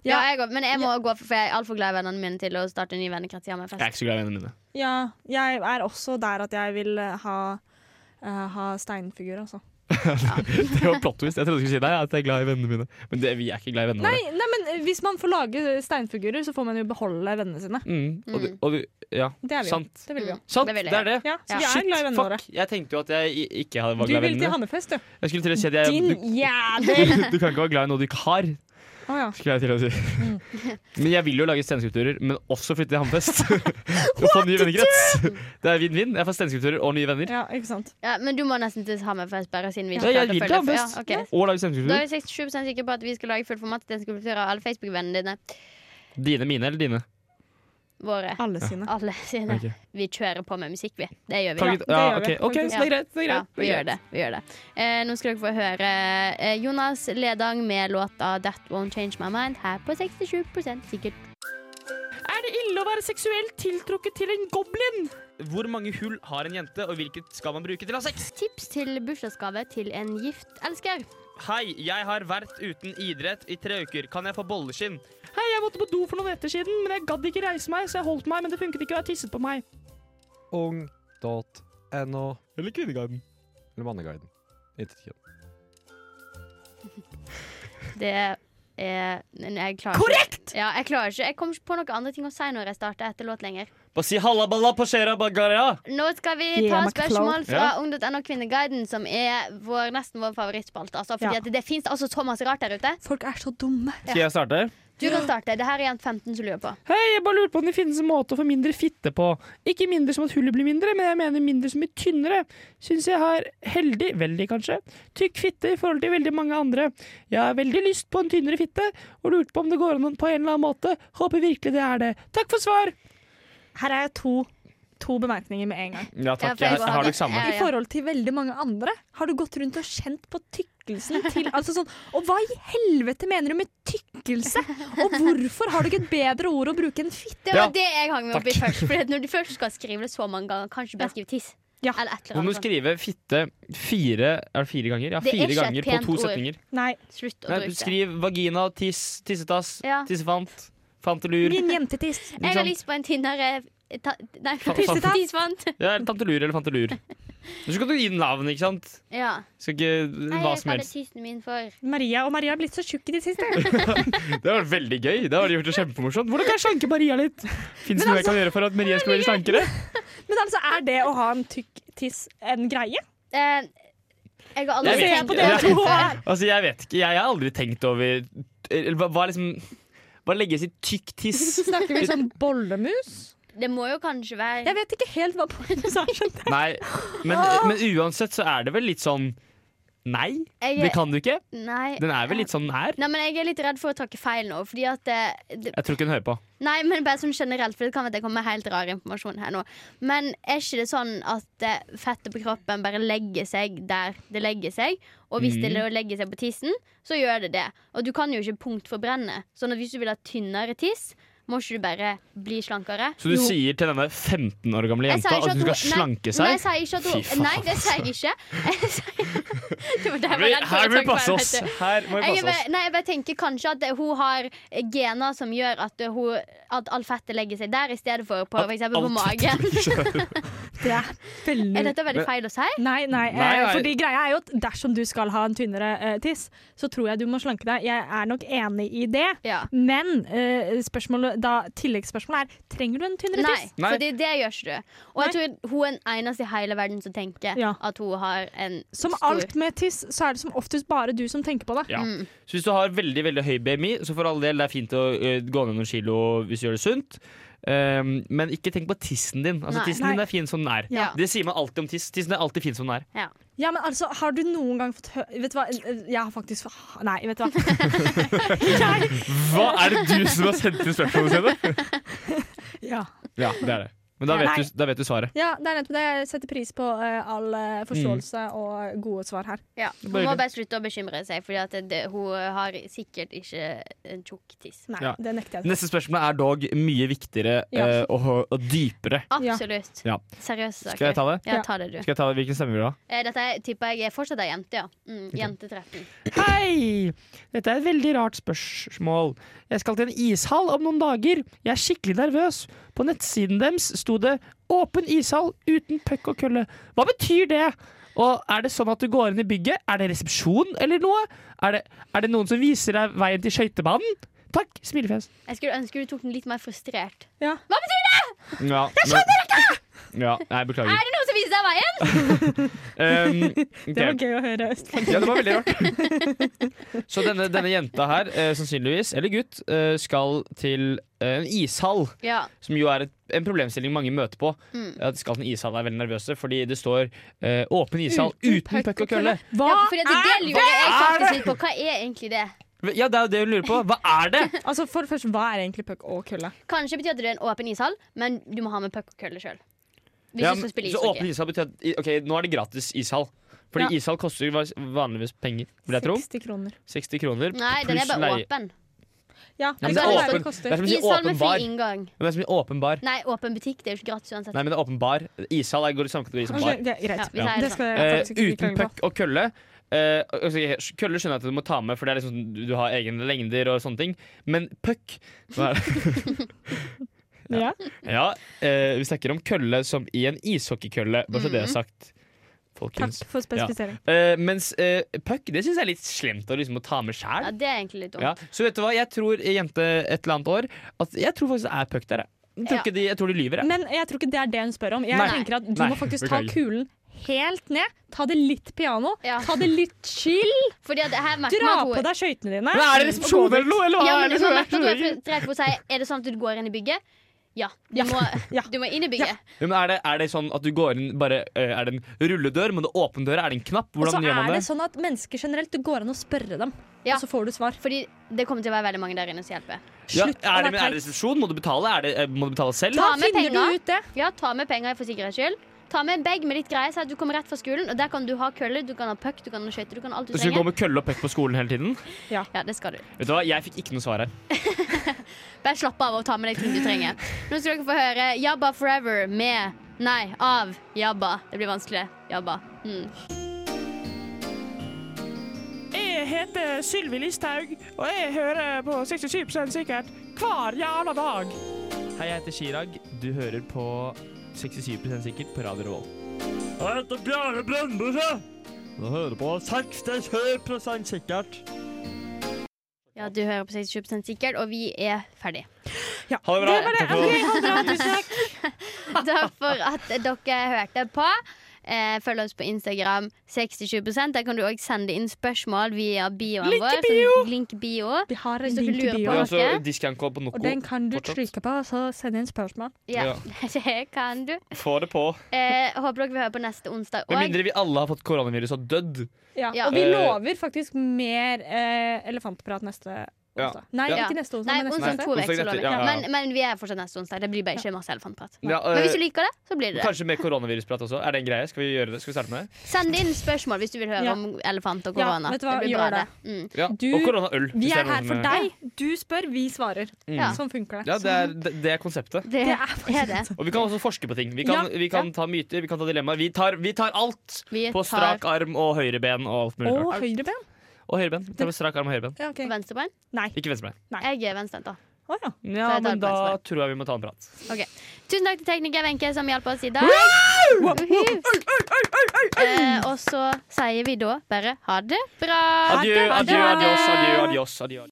Speaker 3: Ja, jeg òg, men jeg må gå, for jeg er altfor glad i vennene mine til å starte en ny vennekrets hjemme.
Speaker 2: Jeg er ikke så glad i vennene mine.
Speaker 4: Ja, jeg er også der at jeg vil eh, ha, eh, ha steinfigur, altså.
Speaker 2: Det var plot twist. Jeg trodde du skulle si nei, at jeg er glad i vennene mine. Men det, vi er ikke glad i vennene
Speaker 4: Nei,
Speaker 2: våre.
Speaker 4: nei, men eh, hvis man får lage steinfigurer, så får man jo beholde vennene sine.
Speaker 2: Mm, og, du- og du, ja,
Speaker 4: Det er vi jo.
Speaker 2: sant.
Speaker 4: Det vil vi jo.
Speaker 2: Sant,
Speaker 3: Det vil jeg.
Speaker 2: det er det.
Speaker 4: Mm. Ja, så
Speaker 3: Ja.
Speaker 4: vi er glad i vennene våre.
Speaker 2: fuck. Jeg tenkte jo at jeg i- ikke hadde- var
Speaker 4: Du
Speaker 2: glad i
Speaker 4: vil til
Speaker 2: vennene.
Speaker 4: Hammerfest, du.
Speaker 2: Jeg skulle til å si at jeg,
Speaker 4: Din
Speaker 2: du,
Speaker 4: jævel!
Speaker 2: Du kan ikke være glad i noe du ikke har,
Speaker 4: Å ja.
Speaker 2: skulle jeg til å si. Men jeg vil jo lage stenskulpturer, men også flytte til Hammerfest. og få ny vennekrets. Det er vinn-vinn. Jeg får stenskulpturer og nye venner.
Speaker 4: ja, ikke sant.
Speaker 3: Ja, men du må nesten til Hammerfest, bare siden vi
Speaker 2: Ja, jeg vil til
Speaker 3: klarte å følge-
Speaker 2: Hammerfest.
Speaker 3: Ja, ok.
Speaker 2: Og lage
Speaker 3: Da
Speaker 2: stenskulpturer.
Speaker 3: er vi 67 sikre på at vi skal lage full format til en skulptur av alle Facebook-vennene dine.
Speaker 2: Dine, mine eller dine?
Speaker 3: Våre.
Speaker 4: Alle sine.
Speaker 3: Alle sine.
Speaker 2: Ok.
Speaker 3: Vi kjører på med musikk, vi. Det gjør vi,
Speaker 2: Kan
Speaker 3: da.
Speaker 2: vi- Ja,
Speaker 4: Det gjør vi,
Speaker 2: ok, ok,
Speaker 4: faktisk.
Speaker 2: så det er greit. Det er
Speaker 3: Ja,
Speaker 2: greit.
Speaker 3: vi gjør det. Vi gjør det. Eh, nå skal dere få høre eh, Jonas Ledang med låta 'That Won't Change My Mind' her på 67 sikkert.
Speaker 2: Er det ille å være seksuelt tiltrukket til en goblin? Hvor mange hull har en jente, og hvilket skal man bruke til å ha sex?
Speaker 3: Tips til bursdagsgave til en gift elsker.
Speaker 2: Hei, jeg har vært uten idrett i tre uker. Kan jeg få bolleskinn? Hei, jeg måtte på do for noen netter siden, men jeg gadd ikke reise meg, så jeg holdt meg, men det funket ikke, og jeg tisset på meg.
Speaker 10: ung.no
Speaker 2: Eller Kvinneguiden.
Speaker 10: eller Manneguiden. Intet kjønn.
Speaker 3: Det er men jeg klarer Korrekt! Ikke. Ja, jeg klarer ikke. Jeg kom ikke på noen andre ting å si når jeg starter etter låt lenger.
Speaker 2: Bare si halaballa på skjera bagaria!
Speaker 3: Nå skal vi
Speaker 11: Yeah,
Speaker 3: ta
Speaker 11: McFlow.
Speaker 3: spørsmål fra
Speaker 2: Ja.
Speaker 3: ung.no Kvinneguiden, som er vår, nesten vår favorittspalte. Altså, fordi
Speaker 11: Ja.
Speaker 3: at det fins altså så masse rart der ute.
Speaker 12: Folk er så dumme.
Speaker 2: Skal jeg starte?
Speaker 3: Du kan starte. Det her er jent 15 som lurer på.
Speaker 2: Hei, jeg bare lurer på om det finnes en måte å få mindre fitte på. Ikke mindre som at hullet blir mindre, men jeg mener mindre som i tynnere. Syns jeg har heldig, veldig kanskje, tykk fitte i forhold til veldig mange andre. Jeg har veldig lyst på en tynnere fitte, og lurte på om det går an på en eller annen måte. Håper virkelig det er det. Takk for svar!
Speaker 4: Her er jeg to, to bemerkninger med en gang.
Speaker 2: Ja,
Speaker 3: Ja, for jeg går- Ja,
Speaker 4: I
Speaker 3: ja.
Speaker 4: forhold til veldig mange andre, har du gått rundt og kjent på tykkelsen til altså sånn, Og hva i helvete mener du med tykkelse? Og hvorfor har du ikke et bedre ord å bruke enn fitt?
Speaker 3: Det var
Speaker 2: Ja.
Speaker 3: det jeg hang meg opp i
Speaker 2: Takk.
Speaker 3: først. Fordi at når du først skal skrive det så mange ganger, kanskje bare skrive tiss.
Speaker 4: Ja.
Speaker 3: Eller et eller annet. sånt.
Speaker 2: skrive fitte fire, er det fire ganger? Ja,
Speaker 3: Det er fire ikke et ganger på pent to ord. setninger.
Speaker 4: Nei,
Speaker 3: Slutt å bruke det.
Speaker 2: skriv vagina, tiss, tissetass,
Speaker 3: Ja.
Speaker 2: tissefant, fantelur.
Speaker 4: min jentetiss.
Speaker 3: Jeg
Speaker 2: sånn-
Speaker 3: har lyst på en tynnere eh, ta, Nei,
Speaker 2: Fa- fa-
Speaker 3: tissefant.
Speaker 2: Ja, eller tantelur eller fantelur. Så kan du gi den navn, ikke sant?
Speaker 3: Ja.
Speaker 2: Skal ikke
Speaker 3: Nei,
Speaker 2: hva
Speaker 3: jeg
Speaker 2: som
Speaker 3: kaller
Speaker 2: helst.
Speaker 3: tissen min for
Speaker 4: Maria og Maria har blitt så tjukke i det siste.
Speaker 2: Det var veldig gøy. Det har de gjort det kjempemorsomt. Hvordan kan jeg slanke Maria litt? Fins det noe
Speaker 3: altså,
Speaker 2: jeg kan gjøre for at Maria skal være slankere?
Speaker 4: Men altså, er det å ha en tykk tiss en greie?
Speaker 3: eh, Jeg har aldri
Speaker 2: Jeg vet
Speaker 3: tenkt
Speaker 2: ikke.
Speaker 3: på det.
Speaker 2: Jeg-
Speaker 3: før.
Speaker 2: Altså, jeg vet ikke. Jeg har aldri tenkt over eller hva- Hva liksom Hva legges i tykk tiss?
Speaker 4: Snakker vi sånn bollemus?
Speaker 3: Det må jo kanskje være
Speaker 4: Jeg vet ikke helt hva bollemus er. skjønte jeg.
Speaker 2: Nei, men, men uansett så er det vel litt sånn Nei,
Speaker 3: Jeg-
Speaker 2: det kan du ikke.
Speaker 3: Nei.
Speaker 2: Den er vel litt sånn her.
Speaker 3: Nei, men Jeg er litt redd for å tråkke feil nå. Fordi at det, det,
Speaker 2: Jeg tror ikke hun hører på.
Speaker 3: nei, men bare sånn generelt For det kan være at det kommer helt rar informasjon her nå. Men er ikke det sånn at eh, fettet på kroppen bare legger seg der det legger seg? Og hvis
Speaker 2: Mm.
Speaker 3: det legger seg på tissen, så gjør det det. Og du kan jo ikke punktforbrenne. Sånn at hvis du vil ha tynnere tiss, må ikke du bare bli slankere.
Speaker 2: Så du
Speaker 3: Jo.
Speaker 2: sier til denne 15 år gamle
Speaker 3: Jeg
Speaker 2: jenta
Speaker 3: sier ikke
Speaker 2: at hun skal slanke
Speaker 3: Nei, jeg
Speaker 2: seg?
Speaker 3: sier ikke at hun,
Speaker 2: Fy faen,
Speaker 3: nei det sier jeg ikke. Jeg sier- Det var det jeg var
Speaker 2: Vi-
Speaker 3: redd for
Speaker 2: Her
Speaker 3: å
Speaker 2: må vi
Speaker 3: tenke på,
Speaker 2: passe oss.
Speaker 3: vet du.
Speaker 2: Her må vi
Speaker 3: Jeg,
Speaker 2: passe
Speaker 3: er
Speaker 2: oss.
Speaker 3: bare- nei, jeg bare tenker kanskje at eh, hun har eh, gener som gjør at, eh, hun, at all fettet legger seg der, i stedet for på,
Speaker 2: At
Speaker 3: for eksempel på
Speaker 2: alt
Speaker 3: magen.
Speaker 4: Det er
Speaker 3: Er
Speaker 4: veldig
Speaker 3: dette veldig feil å si?
Speaker 4: Nei, nei,
Speaker 2: Nei,
Speaker 4: eh,
Speaker 2: nei.
Speaker 4: fordi greia er jo at dersom du skal ha en tynnere eh, tiss, så tror jeg du må slanke deg. Jeg er nok enig i det.
Speaker 3: Ja.
Speaker 4: Men eh, spørsmålet, da, tilleggsspørsmålet er trenger du en tynnere
Speaker 3: Nei,
Speaker 4: tiss.
Speaker 2: Nei.
Speaker 3: for det, det gjør ikke du. Og jeg tror hun er den eneste i hele verden som tenker
Speaker 4: Ja.
Speaker 3: at hun har en
Speaker 4: Som
Speaker 3: stor Mm.
Speaker 4: alt med tiss, så er det som oftest bare du som tenker på det.
Speaker 2: Ja. Så hvis du har veldig veldig høy BMI, så for all del det er fint å ø, gå ned noen kilo hvis du gjør det sunt. Ehm, men ikke tenk på tissen din. Altså
Speaker 3: Nei.
Speaker 2: Tissen din er fin som den er.
Speaker 3: Ja.
Speaker 2: Det sier man alltid om tiss. Tissen er alltid fin som den er.
Speaker 3: ja.
Speaker 4: Ja, men altså, har du noen gang fått hø... Vet du hva, eh, jeg har faktisk Nei, vet du hva.
Speaker 2: Hva er det du som har sendt inn spørsmålet sine?
Speaker 4: Ja.
Speaker 2: Ja, det er det. Men da
Speaker 4: Nei.
Speaker 2: vet, du, da vet du svaret.
Speaker 4: Ja, det er nettopp det. Jeg setter pris på eh, all
Speaker 2: Mm.
Speaker 4: eh, forståelse og gode svar her.
Speaker 3: Ja.
Speaker 2: Bare
Speaker 3: Hun må
Speaker 2: hyggelig.
Speaker 3: bare slutte å bekymre seg, for hun har sikkert ikke en tjukk tiss.
Speaker 4: Nei,
Speaker 2: Ja.
Speaker 4: det nekter jeg.
Speaker 2: Neste spørsmål er dog mye viktigere
Speaker 4: Ja.
Speaker 2: ø, og, og dypere.
Speaker 4: Ja.
Speaker 3: Absolutt.
Speaker 2: Ja.
Speaker 3: Seriøse saker.
Speaker 2: Skal jeg ta det?
Speaker 3: Ja,
Speaker 4: Ja.
Speaker 3: ta det, du.
Speaker 2: Skal jeg ta det? Hvilken stemme vil du ha?
Speaker 3: Eh, Dette er- tipper jeg er fortsatt ei jente, ja. Mm, Jente 13.
Speaker 13: Hei! Dette er et veldig rart spørsmål. Jeg skal til en ishall om noen dager. Jeg er skikkelig nervøs. På nettsiden deres sto det 'Åpen ishall uten puck og kølle'. Hva betyr det? Og er det sånn at du går inn i bygget? Er det resepsjon eller noe? Er det, er det noen som viser deg veien til skøytebanen? Takk, smilefjes.
Speaker 3: Jeg skulle ønske du tok den litt mer frustrert.
Speaker 2: Mm.
Speaker 4: Ja.
Speaker 3: Hva betyr det?!
Speaker 2: Ja, jeg skjønner ikke! Ja, nei, beklager.
Speaker 3: Er det noen som viser deg veien?!
Speaker 2: Um, ok.
Speaker 4: Det var gøy å høre, Østfold.
Speaker 2: Ja, det var veldig rart. Så denne, denne jenta her, eh, sannsynligvis, eller gutt, eh, skal til eh, en ishall.
Speaker 3: Ja.
Speaker 2: Som jo er et, en problemstilling mange møter på.
Speaker 3: Mm.
Speaker 2: At de skal til en ishall er veldig nervøse, fordi det står eh, 'åpen ishall uten puck og kølle'.
Speaker 4: Hva
Speaker 3: ja for det, det lurer jeg faktisk litt på. Hva er egentlig det?
Speaker 2: Ja, det er jo det hun lurer på. Hva er det?
Speaker 4: Altså, for det første, hva er egentlig puck og kølle?
Speaker 3: Kanskje betyr at det er en åpen ishall, men du må ha med puck og kølle sjøl. Hvis
Speaker 2: Ja,
Speaker 3: du
Speaker 2: men-
Speaker 3: skal spille
Speaker 2: så åpen
Speaker 3: ishockey.
Speaker 2: ishall betyr at i- Ok, nå er det gratis ishall. Fordi ishall koster jo vanligvis penger, vil jeg tro.
Speaker 4: 60 kroner.
Speaker 2: 60 kroner
Speaker 3: Nei, den er
Speaker 2: pluss
Speaker 3: bare
Speaker 2: leie.
Speaker 3: åpen.
Speaker 4: Ja,
Speaker 2: Ja, men
Speaker 4: altså,
Speaker 2: det
Speaker 4: hva
Speaker 2: er åpen.
Speaker 4: det
Speaker 2: Det er
Speaker 4: koster.
Speaker 2: som å si
Speaker 3: Ishall med
Speaker 2: åpen bar.
Speaker 3: fri inngang.
Speaker 2: Det er som å si åpen bar.
Speaker 3: Nei, åpen butikk. Det er jo ikke gratis uansett.
Speaker 2: Nei, men det er åpen bar. Ishall er- går i samme kategori som
Speaker 4: Ok,
Speaker 2: bar.
Speaker 4: det er
Speaker 3: Ja,
Speaker 4: greit.
Speaker 3: vi sier
Speaker 4: Det
Speaker 3: det sånn.
Speaker 4: skal jeg
Speaker 2: Eh,
Speaker 4: faktisk ikke
Speaker 2: uten
Speaker 4: klage på.
Speaker 2: puck og kølle. eh, altså, jeg- kølle skjønner jeg at du må ta med, for det er liksom, sånn- du, du har egne lengder og sånne ting. Men puck hva er det?
Speaker 4: Ja.
Speaker 2: Ja, eh, vi snakker om kølle som i en ishockeykølle, bare så det er sagt.
Speaker 4: Mhm. Takk
Speaker 2: Folkens.
Speaker 4: for spesifisering.
Speaker 2: Eh, mens eh, puck, det syns jeg er litt slemt å liksom, å ta med
Speaker 3: Ja,
Speaker 2: sjæl.
Speaker 3: det er egentlig litt dumt.
Speaker 2: Ja. Så vet du hva, jeg tror, eh, jente et eller annet år, at jeg tror faktisk det er puck der, jeg. Jeg tror, ikke de, jeg tror de lyver, jeg.
Speaker 4: Men jeg tror ikke det er det hun spør om. Jeg
Speaker 2: Nei.
Speaker 4: tenker at Du
Speaker 2: Nei,
Speaker 4: må faktisk ta
Speaker 2: beklager.
Speaker 4: kulen helt ned. Ta det litt piano.
Speaker 3: Ja.
Speaker 4: Ta det litt chill.
Speaker 3: Fordi at her merker
Speaker 4: Dra
Speaker 3: man
Speaker 4: på
Speaker 3: at hun
Speaker 4: deg skøytene dine.
Speaker 14: Men er det
Speaker 2: liksom
Speaker 14: resepsjon eller noe? Eller hva
Speaker 3: ja,
Speaker 14: er sånn
Speaker 3: men
Speaker 14: det
Speaker 3: så
Speaker 14: som er?
Speaker 3: merker at hun er sånn, drevet på å si Er det sånn at du går inn i bygget? Ja. Du, Må,
Speaker 4: Ja.
Speaker 3: du må inn i bygget.
Speaker 2: Ja, Men er det, er det sånn at du går inn bare eh, Er det en rulledør? Må du åpne døra? Er det en knapp?
Speaker 4: Og så
Speaker 2: Hvordan gjør
Speaker 4: er
Speaker 2: man
Speaker 4: det
Speaker 2: det?
Speaker 4: sånn at mennesker generelt, det går an å spørre dem,
Speaker 3: Ja.
Speaker 4: og så får du svar.
Speaker 3: Fordi det kommer til å være veldig mange der inne som hjelper.
Speaker 2: Ja,
Speaker 4: Slutt
Speaker 2: er det,
Speaker 4: å være
Speaker 2: men er det
Speaker 4: teit.
Speaker 2: resepsjon? Må du betale? Er det, eh, må du betale selv?
Speaker 3: Ta
Speaker 4: Da
Speaker 3: med
Speaker 4: finner
Speaker 3: penger.
Speaker 4: du ut det.
Speaker 3: Ja, ta med penger for sikkerhets skyld. Ta med en bag med litt greier, så at du kommer rett fra skolen. Og der kan du ha kølle, du kan ha puck, du kan ha skøyter, du kan ha alt du
Speaker 2: Du skal gå
Speaker 3: trenger.
Speaker 2: med kølle og puck på skolen hele tiden?
Speaker 3: Ja, det skal du.
Speaker 2: Vet du hva, Jeg fikk ikke noe svar her.
Speaker 3: Bare slapp av og ta med deg ting du trenger. Nå skal dere få høre Jabba Forever med Nei, av Jabba. Det blir vanskelig. Jabba. Mm.
Speaker 14: Jeg heter Sylvi Listhaug, og jeg hører på 67 sikkert hver jævla dag.
Speaker 2: Hei, jeg heter Chirag. Du hører på 67 sikkert på Radio Revolt.
Speaker 14: Jeg heter Bjarne Brøndbøse. Du hører på 67 sikkert.
Speaker 3: Ja, du hører på 67 sikkert, og vi er ferdig.
Speaker 2: Ha det bra. Takk for-
Speaker 3: Takk for at dere hørte på. Eh, følg oss på Instagram 67 Der kan du òg sende inn spørsmål via bioen
Speaker 4: Link i
Speaker 3: vår.
Speaker 4: bio.
Speaker 3: som- Link i bio.
Speaker 4: Vi har en
Speaker 3: Hvis dere
Speaker 4: link i
Speaker 3: lurer
Speaker 2: Ja,
Speaker 3: på-
Speaker 4: bio,
Speaker 2: altså, Discount-kode på
Speaker 4: og
Speaker 2: Noko.
Speaker 4: den kan du
Speaker 2: Fortsatt.
Speaker 4: trykke på, og så sende inn spørsmål.
Speaker 3: Ja, det kan du.
Speaker 2: Få det på.
Speaker 3: Eh, håper dere vil høre på neste onsdag
Speaker 2: Med
Speaker 3: òg.
Speaker 2: mindre vi alle har fått koronavirus og dødd.
Speaker 4: Ja.
Speaker 3: Ja.
Speaker 4: Og vi
Speaker 2: Eh,
Speaker 4: lover faktisk mer eh, elefantprat neste
Speaker 2: Ja.
Speaker 4: onsdag. Nei,
Speaker 2: Ja.
Speaker 4: ikke neste onsdag,
Speaker 3: Nei,
Speaker 4: men neste
Speaker 3: onsdag
Speaker 4: onsdag.
Speaker 3: to
Speaker 2: Onsdag
Speaker 3: uker, så
Speaker 2: etter,
Speaker 3: lover vi.
Speaker 2: ja, ja, ja.
Speaker 3: Men, men vi er fortsatt neste onsdag. Det blir bare ikke masse elefantprat.
Speaker 2: Ja,
Speaker 3: Men
Speaker 2: eh,
Speaker 3: hvis du liker det, så blir det det.
Speaker 2: Kanskje med koronavirusprat også. Er det en greie? Skal vi gjøre det? Skal vi starte med det?
Speaker 3: Send inn spørsmål hvis du vil høre
Speaker 4: Ja.
Speaker 3: om elefant og
Speaker 4: Ja,
Speaker 3: korona.
Speaker 4: vet du hva?
Speaker 3: det blir
Speaker 4: Gjør
Speaker 3: bra, det. Mm.
Speaker 2: Ja.
Speaker 4: Du-
Speaker 2: og koronaøl. hvis
Speaker 4: Vi
Speaker 2: det
Speaker 4: er
Speaker 2: noen
Speaker 4: her for
Speaker 2: som-
Speaker 4: deg. Du spør, vi svarer.
Speaker 2: Mm.
Speaker 4: Sånn funker det.
Speaker 2: Ja, det er, det, det er konseptet.
Speaker 3: Det
Speaker 4: Det
Speaker 3: er,
Speaker 4: er faktisk
Speaker 3: det.
Speaker 2: Og vi kan også forske på ting. Vi kan, vi kan ta myter, vi kan ta dilemmaer. Vi tar, vi tar alt!
Speaker 3: Vi
Speaker 2: På
Speaker 3: tar
Speaker 2: strak arm og høyreben og alt mulig
Speaker 4: Og
Speaker 2: rart.
Speaker 4: høyreben.
Speaker 2: Og høyreben. Vi tar med strak arm og høyreben.
Speaker 4: Ja, ok.
Speaker 3: venstrebein.
Speaker 2: Ikke venstrebein.
Speaker 3: Jeg er venstrehendt, da.
Speaker 4: Å, ja.
Speaker 2: Ja,
Speaker 3: Så jeg tar
Speaker 2: men
Speaker 3: med
Speaker 2: da
Speaker 3: venstrebein.
Speaker 2: tror jeg vi må ta en prat.
Speaker 3: Tusen takk til tekniker Wenche, som hjalp oss i dag. Uhu. Eh, Og så sier vi da bare ha det bra.
Speaker 2: Adjø, adjø, adios, adjø, adios, adios.